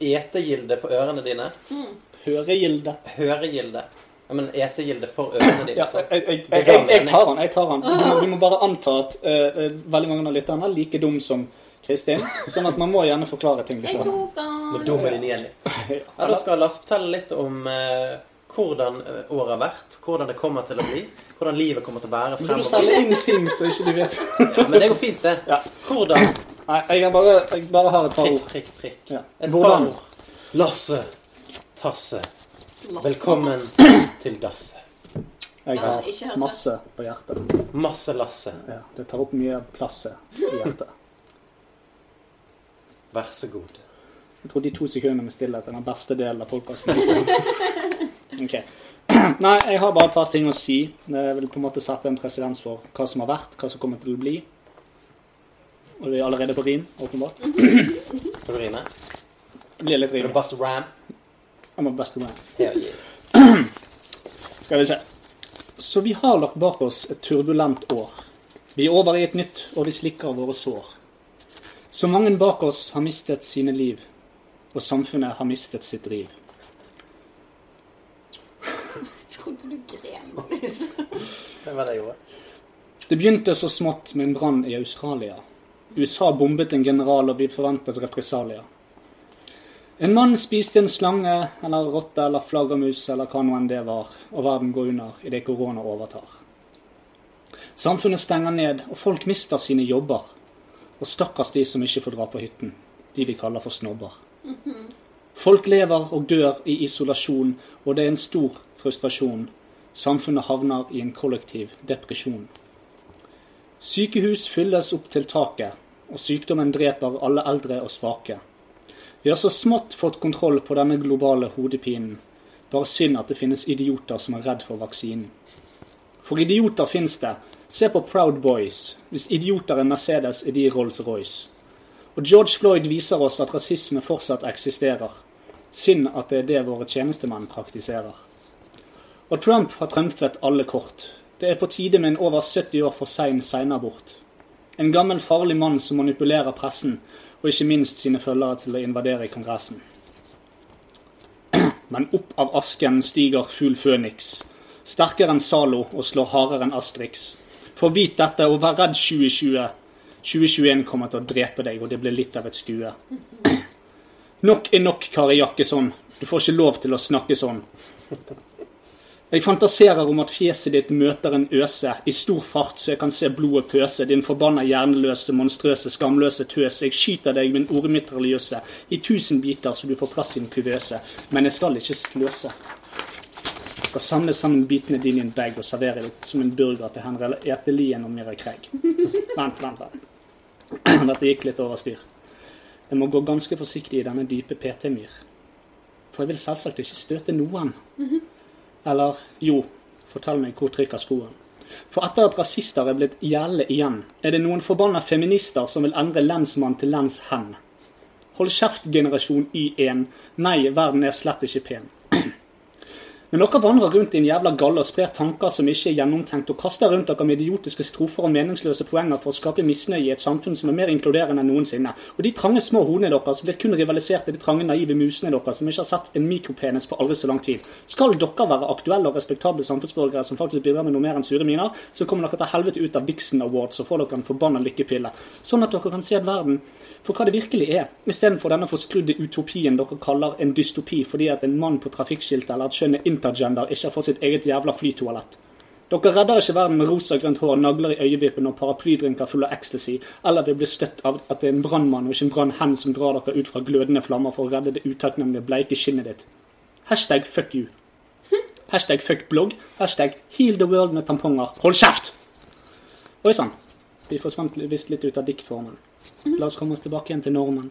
S4: etegildet for ørene dine
S5: Høregilde.
S4: Høregilde. Ja, men etegilde for ørene dine.
S5: Ja,
S4: sant?
S5: jeg, jeg, jeg, jeg, jeg tar han, jeg tar han. Vi må, vi må bare anta at eh, eh, veldig mange av lytterne er like dum som Kristin. Sånn at man må gjerne forklare ting litt.
S6: Jeg tok han.
S4: Dumme din igjen litt. Ja, da skal Lars fortelle litt om eh, hvordan eh, året har vært, hvordan det kommer til å bli, hvordan livet kommer til å være
S5: Du
S4: fremover.
S5: selger inn ting som ikke du vet.
S4: Ja, men det går fint, det.
S5: Ja.
S4: Hvordan
S5: Nei, jeg, har bare, jeg bare har et par
S4: Prikk,
S5: ord.
S4: prikk, prikk.
S5: Ja.
S4: Et
S5: Hvordan?
S4: par ord. Lasse, Tasse,
S6: Lasse.
S4: velkommen til Dasse.
S5: Jeg
S6: Ja, ikke
S5: har
S6: hørt
S5: masse på hjertet.
S4: Masse Lasse,
S5: Ja, det tar opp mye plass i hjertet.
S4: vær så god.
S5: Jeg tror de to sekundene med stillhet er den beste delen av podkasten. Ok. Nei, jeg har bare et par ting å si. Jeg vil på en måte sette en presedens for hva som har vært, hva som kommer til å bli. Og vi er allerede på rim, åpenbart.
S4: Skal du rime?
S5: Det blir litt
S4: Vil du
S5: rim.
S4: basse ram?
S5: Jeg må best gå med.
S4: Ja, ja.
S5: Skal vi se. Så vi har lagt bak oss et turbulent år. Vi er over i et nytt, og vi slikker våre sår. Så mange bak oss har mistet sine liv, og samfunnet har mistet sitt driv.
S6: Trodde du gren. Marius.
S4: Det var det jeg gjorde.
S5: Det begynte så smått med en brann i Australia. USA bombet en general, og vi forventet represalier. En mann spiste en slange eller rotte eller flaggermus eller hva nå enn det var, og verden går under idet korona overtar. Samfunnet stenger ned, og folk mister sine jobber. Og stakkars de som ikke får dra på hytten. De vi kaller for snobber. Folk lever og dør i isolasjon, og det er en stor frustrasjon. Samfunnet havner i en kollektiv depresjon. Sykehus fylles opp til taket, og sykdommen dreper alle eldre og svake. Vi har så smått fått kontroll på denne globale hodepinen. Bare synd at det finnes idioter som er redd for vaksinen. For idioter fins det. Se på Proud Boys. Hvis idioter er Mercedes, er de Rolls-Royce. Og George Floyd viser oss at rasisme fortsatt eksisterer. Synd at det er det våre tjenestemenn praktiserer. Og Trump har trumfet alle kort. Det er på tide med en over 70 år for sein seinabort. En gammel, farlig mann som manipulerer pressen, og ikke minst sine følgere til å invadere Kongressen. Men opp av asken stiger fugl Føniks, sterkere enn Zalo og slår hardere enn Astrix. For vit dette og vær redd 2020. 2021 kommer til å drepe deg, og det blir litt av et skue. Nok er nok, Kari Jakkesson. Du får ikke lov til å snakke sånn. Jeg fantaserer om at fjeset ditt møter en øse i stor fart, så jeg kan se blodet pøse, din forbanna hjerneløse, monstrøse, skamløse tøs. Jeg skyter deg med en ormitraljøse i tusen biter så du får plass i en kuvøse, men jeg skal ikke sløse. Jeg skal samle sammen bitene dine i en bag og servere det som en burger til Henriette Etelien og Mira Craig. Vent, vent, vent. Dette gikk litt over styr. Jeg må gå ganske forsiktig i denne dype PT-myr. For jeg vil selvsagt ikke støte noen. Eller jo, fortell meg hvor trykker skoen. For etter at rasister er blitt gjelde igjen, er det noen forbanna feminister som vil endre lensmann til lenshen. Hold kjeft, generasjon Y1. Nei, verden er slett ikke pen. Men dere vandrer rundt i en jævla galle og sprer tanker som ikke er gjennomtenkt, og kaster rundt dere med idiotiske strofer og meningsløse poenger for å skape misnøye i et samfunn som er mer inkluderende enn noensinne. Og de trange små hodene deres blir kun rivalisert i de trange, naive musene deres som ikke har sett en mikropenis på aldri så lang tid. Skal dere være aktuelle og respektable samfunnsborgere som faktisk bidrar med noe mer enn sure miner, så kommer dere til helvete ut av Vixen Awards og får dere en forbanna lykkepille. Sånn at dere kan se verden for hva det virkelig er, istedenfor denne forskrudde utopien dere kaller en dystopi fordi at en mann på trafikkskiltet eller et skjønne intergender ikke har fått sitt eget jævla flytoalett. Dere redder ikke verden med rosa grønt hår, nagler i øyevippene og paraplydrinker fulle av ecstasy, eller ved å bli støtt av at det er en brannmann og ikke en brannhen som drar dere ut fra glødende flammer for å redde det utakknemlige bleike skinnet ditt. Hashtag fuck you. Hashtag fuck blogg. Hashtag heal the world med tamponger. Hold kjeft! Oi sann. Vi forsvant visst litt ut av diktformen. La oss komme oss tilbake igjen til normen.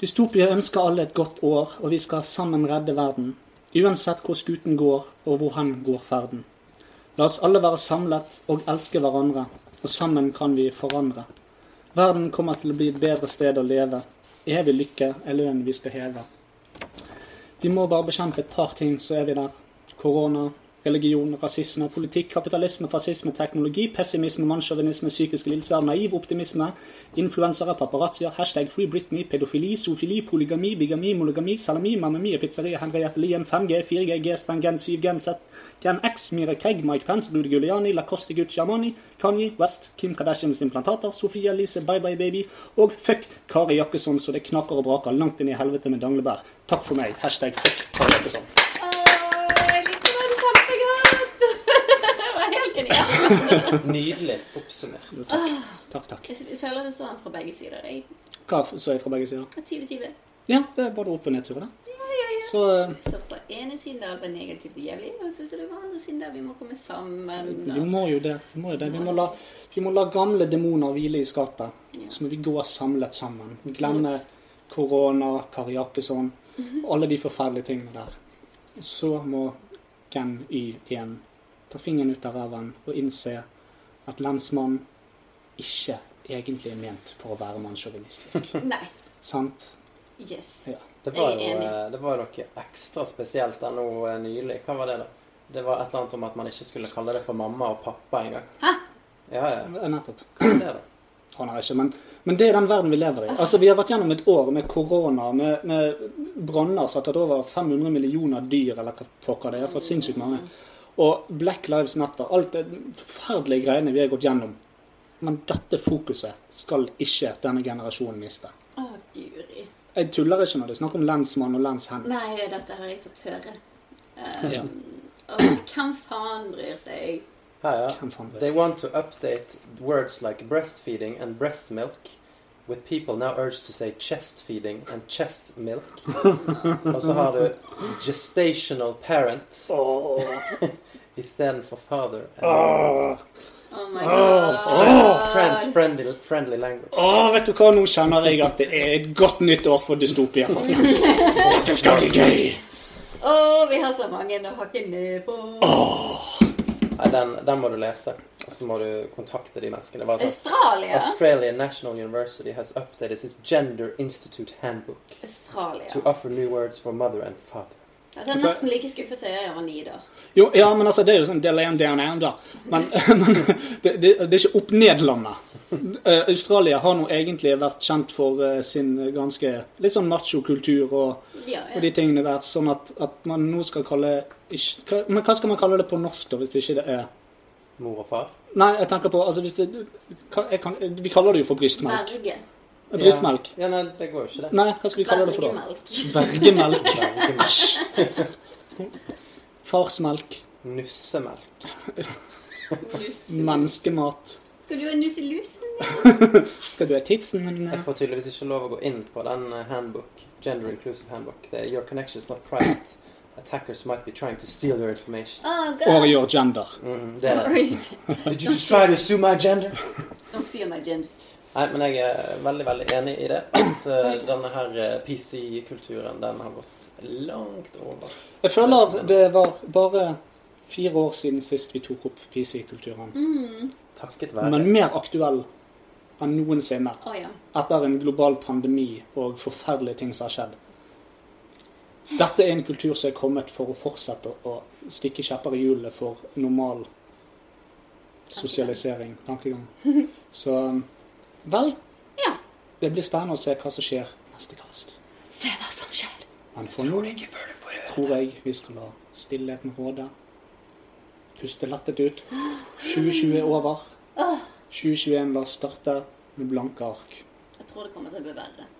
S5: Dystopia ønsker alle et godt år, og vi skal sammen redde verden. Uansett hvor skuten går, og hvor hen går ferden. La oss alle være samlet og elske hverandre, og sammen kan vi forandre. Verden kommer til å bli et bedre sted å leve. Evig lykke er lønnen vi skal heve. Vi må bare bekjempe et par ting, så er vi der. Korona, religion, rasisme, politikk, kapitalisme, fascisme, teknologi, pessimisme, mannssjåvinisme, psykiske lidelser, naiv optimisme, influensere, paparazzoer, hashtag free Britney, pedofili, zoofili, polygami, bigami, monogami, salami, mamami, pizzeria, Henriette Lien, 5G, 4G, G-streng, gen 7, gen Z, gen X, Mira Craig, Mike Pence, Rudy Giuliani, Lacoste Gucci Armani, Kanye West, Kim Kardashians implantater, Sofia Elise, Bye Bye Baby og fuck Kari Jakkesson så det knakker og braker langt inn i helvete med danglebær. Takk for meg. Hashtag fuck Kari Jakkesson.
S6: jeg likte den kjempegodt! det var helt genialt.
S4: Nydelig oppsummert.
S5: Takk, takk.
S6: Jeg føler du så den fra begge sider. Jeg
S5: Hva så jeg fra begge sider?
S6: 2020.
S5: Ja, det er både opp- og nedturer, det.
S6: Ja, ja, ja.
S5: Så eh,
S6: Så på ene siden der alt var negativt og jævlig, og så så det var andre siden der vi må komme sammen.
S5: vi må jo det. Vi må, jo det. Vi må, la, vi må la gamle demoner hvile i skapet. Så må vi gå samlet sammen. Glemme korona, Kari Jakkesson, alle de forferdelige tingene der. Så må Gen Y igjen ta fingeren ut av ræven og innse at lensmannen ikke egentlig er ment for å være mannssjåvinistisk.
S6: Og... Nei.
S5: Sant?
S6: Yes.
S5: Ja.
S4: Det var
S6: Jeg
S4: jo
S6: er enig.
S4: eh, det var jo noe ekstra spesielt der nå eh, nylig. Hva var det, da? Det var et eller annet om at man ikke skulle kalle det for mamma og pappa engang.
S6: Hæ?
S4: Ja, ja.
S5: Nettopp.
S4: Hva er det, da?
S5: Han er ikke, men, men det er den verden vi lever i. Altså, Vi har vært gjennom et år med korona, med, med branner som har tatt over 500 millioner dyr, eller hva pokker det er, for sinnssykt mange. Og Black Lives Matter, alt det forferdelige greiene vi har gått gjennom. Men dette fokuset skal ikke denne generasjonen miste.
S6: Å, guri.
S5: Jeg tuller ikke når det er snakk om lensmann og lenshen.
S6: Nei, dette har jeg fått høre.
S5: Ja.
S6: Og hvem faen bryr seg?
S4: Her,
S5: Hvem faen
S4: ja.
S5: vet?
S4: They want to update words like breastfeeding and breast milk. With people now urged to say chest feeding and chest milk. Og så har du gestational parent istedenfor father. And
S5: Ah.
S6: Oh my god.
S4: trans, trans friendly, friendly language.
S5: Å, vet du hva, nå kjenner jeg at det er et godt nytt år for dystopia, folkens. Dette skal bli gøy!
S6: Å, vi har så mange å hakke ned på.
S4: Nei, den, den må du lese. Og så må du kontakte de menneskene. Det var sånn,
S6: Australia.
S4: Australian National University has updated its Gender Institute handbook
S6: Australia.
S4: to offer new words for mother and father.
S6: Dette
S5: Altså-
S6: er nesten like skuffet som jeg var ni da.
S5: Jo, ja, men altså, det er jo sånn del én, down end, da. Men, men det, det, det er ikke opp-ned-landet. Eh, Australia har nå egentlig vært kjent for eh, sin ganske litt sånn macho-kultur og,
S6: Ja,
S5: og de
S6: ja.
S5: tingene der, sånn at, at man nå skal kalle ikke, hva, Men hva skal man kalle det på norsk, da, hvis det ikke det er
S4: Mor og far.
S5: Nei, jeg tenker på altså, hvis det, hva- jeg kan, Vi kaller det jo for brystmelk.
S6: Verge.
S5: Brystmelk.
S4: Ja, nei, det går jo ikke, det.
S5: Nei, hva skal vi kalle det for da?
S6: Vergemelk.
S5: Vergemelk.
S4: Vergemelk.
S5: Farsmelk.
S4: Nussemelk.
S6: Nusse.
S5: Menneskemat.
S6: Skal du ha nusselusen?
S5: Skal du ha tissen min?
S4: Jeg får tydeligvis ikke lov å gå inn på den eh, handbook, gender inclusive handbook. Det er Your connection is not private. Attackers might be trying to steal your information.
S6: Å,
S5: Og
S6: god.
S5: your gender.
S4: Mm, det er det.
S6: Right.
S4: Did you just try to assume my gender?
S6: Don't steal my gender.
S4: Nei, men jeg er veldig, veldig enig i det. At eh, denne her eh, PC-kulturen, den har gått langt over.
S5: Jeg føler det var bare fire år siden sist vi tok opp PC-kulturen.
S4: Takket
S5: Men
S4: være
S5: mer aktuell enn noensinne.
S6: Å ja.
S5: Etter en global pandemi og forferdelige ting som har skjedd. Dette er en kultur som er kommet for å fortsette å stikke kjepper i hjulene for normal sosialisering, tankegang. Så um, vel,
S6: Ja.
S5: det blir spennende å se hva som skjer neste kast.
S6: Se hva som skjer.
S5: Men for nå tror jeg vi skal la stillheten råde. Puste lettet ut. 2020 er over. 2021 la oss starte med blanke ark.
S6: Jeg tror det kommer til å bli verre.